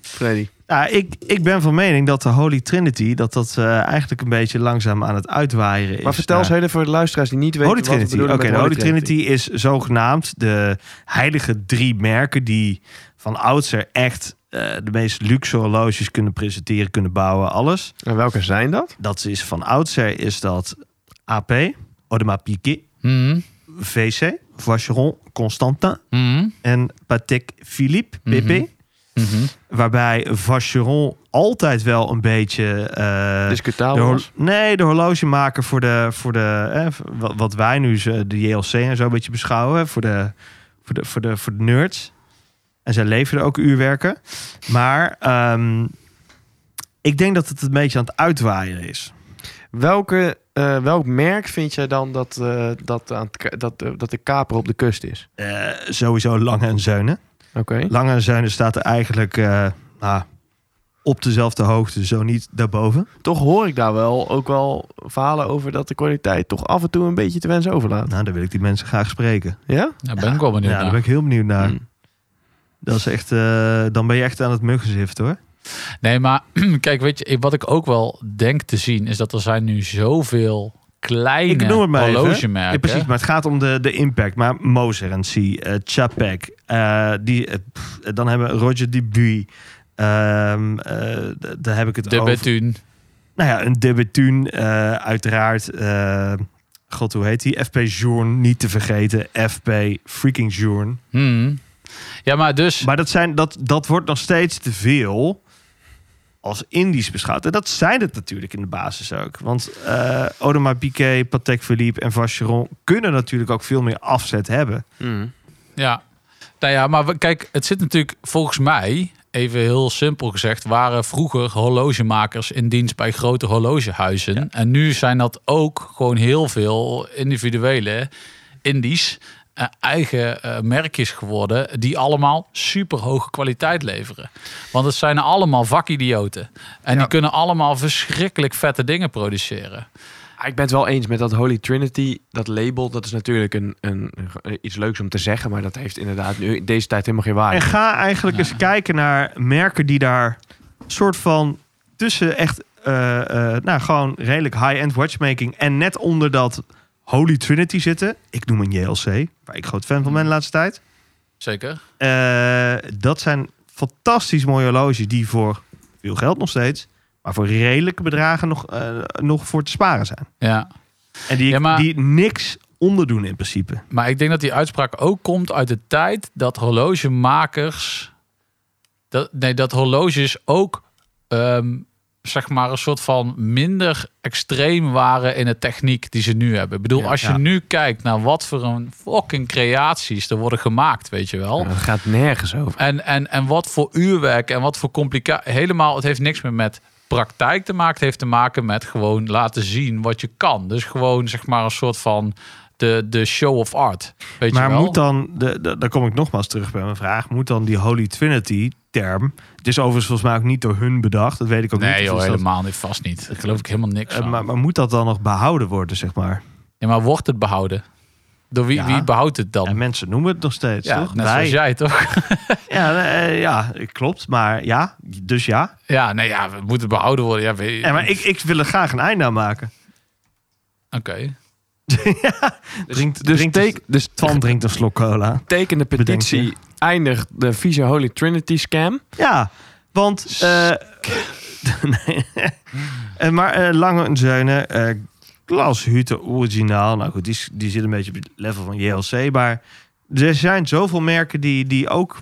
[SPEAKER 5] Freddy.
[SPEAKER 3] Ja, ik, ik ben van mening dat de Holy Trinity dat dat eh, eigenlijk een beetje langzaam aan het uitwaaien is.
[SPEAKER 5] Maar vertel eens
[SPEAKER 3] naar-
[SPEAKER 5] even voor de luisteraars die niet weten
[SPEAKER 3] Holy
[SPEAKER 5] wat we
[SPEAKER 3] Trinity. Oké,
[SPEAKER 5] bedoelen met
[SPEAKER 3] de Holy Trinity is zogenaamd de heilige drie merken die van oudsher echt eh, de meest luxe horloges kunnen presenteren, kunnen bouwen, alles.
[SPEAKER 5] En welke zijn dat?
[SPEAKER 3] Dat is van oudsher is dat AP, Audemars Piguet,
[SPEAKER 2] Mhm.
[SPEAKER 3] VC, Vacheron Constantin
[SPEAKER 2] Mhm.
[SPEAKER 3] en Patek Philippe, PP.
[SPEAKER 2] Mhm. Mhm.
[SPEAKER 3] Waarbij Vacheron altijd wel een beetje... eh, de
[SPEAKER 5] Discutabel
[SPEAKER 3] hor-
[SPEAKER 5] was.
[SPEAKER 3] nee, de horlogemaker voor de, voor de hè, v- wat, wat wij nu ze- de JLC en zo een beetje beschouwen. hè, Voor de, voor de, voor de, voor de nerds. En zij leveren ook uurwerken. Maar ehm, ik denk dat het een beetje aan het uitwaaien is.
[SPEAKER 5] Welke, eh, welk merk vind jij dan dat, eh, dat, aan het ka- dat, eh, dat de kaper op de kust is?
[SPEAKER 3] Eh, sowieso Lange en Zeunen.
[SPEAKER 5] Oké.
[SPEAKER 3] Lange en Zeunen staat er eigenlijk eh, nou, op dezelfde hoogte, zo niet daarboven.
[SPEAKER 5] Toch hoor ik daar wel ook wel verhalen over dat de kwaliteit toch af en toe een beetje te wensen overlaat.
[SPEAKER 3] Nou, daar wil ik die mensen graag spreken.
[SPEAKER 5] Ja?
[SPEAKER 2] Ja, ben ik wel benieuwd
[SPEAKER 3] ja, daar
[SPEAKER 2] naar.
[SPEAKER 3] ben ik heel benieuwd naar.
[SPEAKER 5] Hmm.
[SPEAKER 3] Dat is echt, eh, dan ben je echt aan het muggenzift hoor.
[SPEAKER 2] Nee, maar kijk, weet je, wat ik ook wel denk te zien... is dat er zijn nu zoveel kleine
[SPEAKER 3] Ik noem het maar even.
[SPEAKER 2] horlogemerken.
[SPEAKER 3] Ja, precies, maar het gaat om de, de impact. Maar Moser en C, eh, Chapek, eh, die, eh, pff, dan hebben we Roger Dubuis. Ehm eh, d- daar heb ik het
[SPEAKER 2] De
[SPEAKER 3] over.
[SPEAKER 2] Bethune.
[SPEAKER 3] Nou ja, een debutuun eh, uiteraard. eh, God, hoe heet die? FP Journ, niet te vergeten. FP freaking Journ.
[SPEAKER 2] Mhm. Ja, maar dus...
[SPEAKER 3] Maar dat, zijn, dat, dat wordt nog steeds te veel als Indisch beschouwd. En dat zijn het natuurlijk in de basis ook. Want eh Audemars Piguet, Patek Philippe en Vacheron... kunnen natuurlijk ook veel meer afzet hebben.
[SPEAKER 5] Hmm.
[SPEAKER 2] Ja. Nou ja, maar we- kijk, het zit natuurlijk volgens mij, even heel simpel gezegd, waren vroeger horlogemakers in dienst bij grote horlogehuizen. En nu zijn dat ook gewoon heel veel individuele indies. eh, eigen eh, merkjes geworden die allemaal super hoge kwaliteit leveren. Want het zijn allemaal vakidioten. En die kunnen allemaal verschrikkelijk vette dingen produceren.
[SPEAKER 5] Ah, Ik ben het wel eens met dat Holy Trinity, dat label. Dat is natuurlijk een, een, een- iets leuks om te zeggen, maar dat heeft inderdaad nu in deze tijd helemaal geen waarde.
[SPEAKER 3] En ga eigenlijk eens kijken naar merken die daar... soort van tussen echt... eh, eh, nou, gewoon redelijk high-end watchmaking... en net onder dat Holy Trinity zitten. Ik noem een JLC, waar ik groot fan van ben
[SPEAKER 2] Hmm.
[SPEAKER 3] de laatste tijd.
[SPEAKER 2] Zeker?
[SPEAKER 3] Eh, dat zijn fantastisch mooie horloges die voor veel geld nog steeds, maar voor redelijke bedragen nog, eh, nog voor te sparen zijn.
[SPEAKER 2] Ja.
[SPEAKER 3] En die,
[SPEAKER 2] Ja, maar-
[SPEAKER 3] die niks onderdoen in principe.
[SPEAKER 2] Maar ik denk dat die uitspraak ook komt uit de tijd dat horlogemakers. Dat, nee, dat horloges ook ehm, zeg maar een soort van minder extreem waren in de techniek die ze nu hebben. Ik bedoel,
[SPEAKER 5] Ja,
[SPEAKER 2] als je
[SPEAKER 3] ja.
[SPEAKER 2] nu kijkt naar wat voor een fucking creaties er worden gemaakt, weet je wel.
[SPEAKER 5] Ja, dat gaat nergens over.
[SPEAKER 2] En, en, en wat voor uurwerk en wat voor complicatie. Helemaal, het heeft niks meer met praktijk te maken. Het heeft te maken met gewoon laten zien wat je kan. Dus gewoon zeg maar een soort van de, de show of art. Weet
[SPEAKER 3] maar
[SPEAKER 2] je wel?
[SPEAKER 3] moet dan, de, de- daar kom ik nogmaals terug bij mijn vraag, moet dan die Holy Trinity term, het is overigens volgens mij ook niet door hun bedacht, dat weet ik ook
[SPEAKER 2] nee,
[SPEAKER 3] niet.
[SPEAKER 2] joh,
[SPEAKER 3] of dat-
[SPEAKER 2] helemaal niet. Vast niet. Daar geloof ik helemaal niks
[SPEAKER 3] Eh,
[SPEAKER 2] van.
[SPEAKER 3] maar, maar moet dat dan nog behouden worden, zeg maar?
[SPEAKER 2] Ja, maar wordt het behouden? Door wie,
[SPEAKER 3] Ja.
[SPEAKER 2] wie behoudt het dan?
[SPEAKER 3] En mensen noemen het nog steeds,
[SPEAKER 2] Ja,
[SPEAKER 3] toch?
[SPEAKER 2] net zoals jij toch?
[SPEAKER 3] Ja, eh, ja, klopt. Maar ja, dus ja.
[SPEAKER 2] Ja, nee, ja, we moeten behouden worden. Ja, weet-
[SPEAKER 3] Ja, maar ik, ik wil er graag een einde aan maken.
[SPEAKER 2] Oké.
[SPEAKER 3] Drinkt,
[SPEAKER 5] Dus,
[SPEAKER 3] drinkt
[SPEAKER 5] teken, dus
[SPEAKER 3] Twan drinkt een slok cola.
[SPEAKER 5] teken de petitie, eindigt de Visa Holy Trinity scam.
[SPEAKER 3] Ja, want... eh nee. Eh, maar eh, Lange en Zeunen, eh Klaus Hutte originaal. Nou goed, die, is- die zit een beetje op het level van JLC. Maar er zijn zoveel merken die, die ook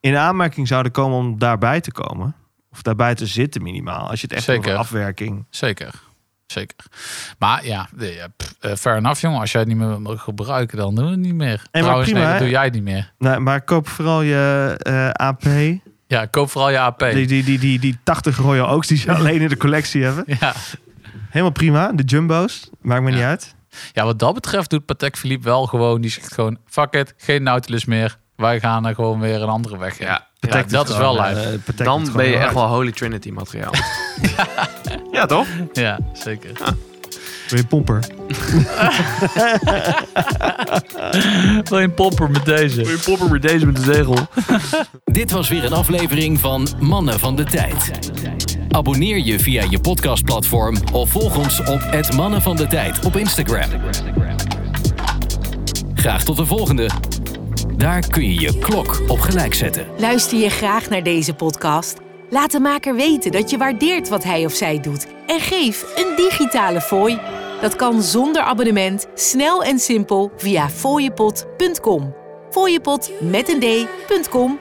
[SPEAKER 3] in aanmerking zouden komen om daarbij te komen. Of daarbij te zitten minimaal. Als je het echt
[SPEAKER 2] Zeker.
[SPEAKER 3] over afwerking...
[SPEAKER 2] Zeker. Zeker. Maar ja, nee, ja, pff, eh, fair enough, jongen. Als jij het niet meer wil gebruiken, dan doen we het niet meer.
[SPEAKER 3] maar
[SPEAKER 2] Trouwens,
[SPEAKER 3] prima,
[SPEAKER 2] nee, dat
[SPEAKER 3] hè?
[SPEAKER 2] doe jij niet meer.
[SPEAKER 3] Nou, maar koop vooral je eh, AP.
[SPEAKER 2] Ja, koop vooral je AP.
[SPEAKER 3] Die, die, die, die, die 80 Royal Oaks die ze alleen in de collectie hebben.
[SPEAKER 2] Ja.
[SPEAKER 3] Helemaal prima. De Jumbo's. Maakt me
[SPEAKER 2] Ja.
[SPEAKER 3] niet uit.
[SPEAKER 2] ja, wat dat betreft doet Patek Philippe wel gewoon... Die zegt gewoon, fuck it, geen Nautilus meer. Wij gaan er gewoon weer een andere weg in. Ja,
[SPEAKER 3] Protect
[SPEAKER 2] dat
[SPEAKER 3] het
[SPEAKER 2] is wel
[SPEAKER 3] gewoon,
[SPEAKER 2] live.
[SPEAKER 3] eh, protect het
[SPEAKER 5] Dan
[SPEAKER 3] gewoon
[SPEAKER 5] ben je
[SPEAKER 3] wel
[SPEAKER 5] echt
[SPEAKER 3] uit.
[SPEAKER 5] wel Holy Trinity materiaal.
[SPEAKER 3] Ja, toch?
[SPEAKER 2] Ja, zeker.
[SPEAKER 3] Ben je pomper.
[SPEAKER 2] Wil je een popper met deze?
[SPEAKER 5] Popper met deze met de zegel.
[SPEAKER 4] Dit was weer een aflevering van Mannen van de Tijd. Abonneer je via je podcastplatform of volg ons op het Mannen van de Tijd op Instagram. Graag tot de volgende. Daar kun je je klok op gelijk zetten.
[SPEAKER 1] Luister je graag naar deze podcast? Laat de maker weten dat je waardeert wat hij of zij doet en geef een digitale fooi. Dat kan zonder abonnement, snel en simpel via fooiepot.com. Fooiepot met een d.com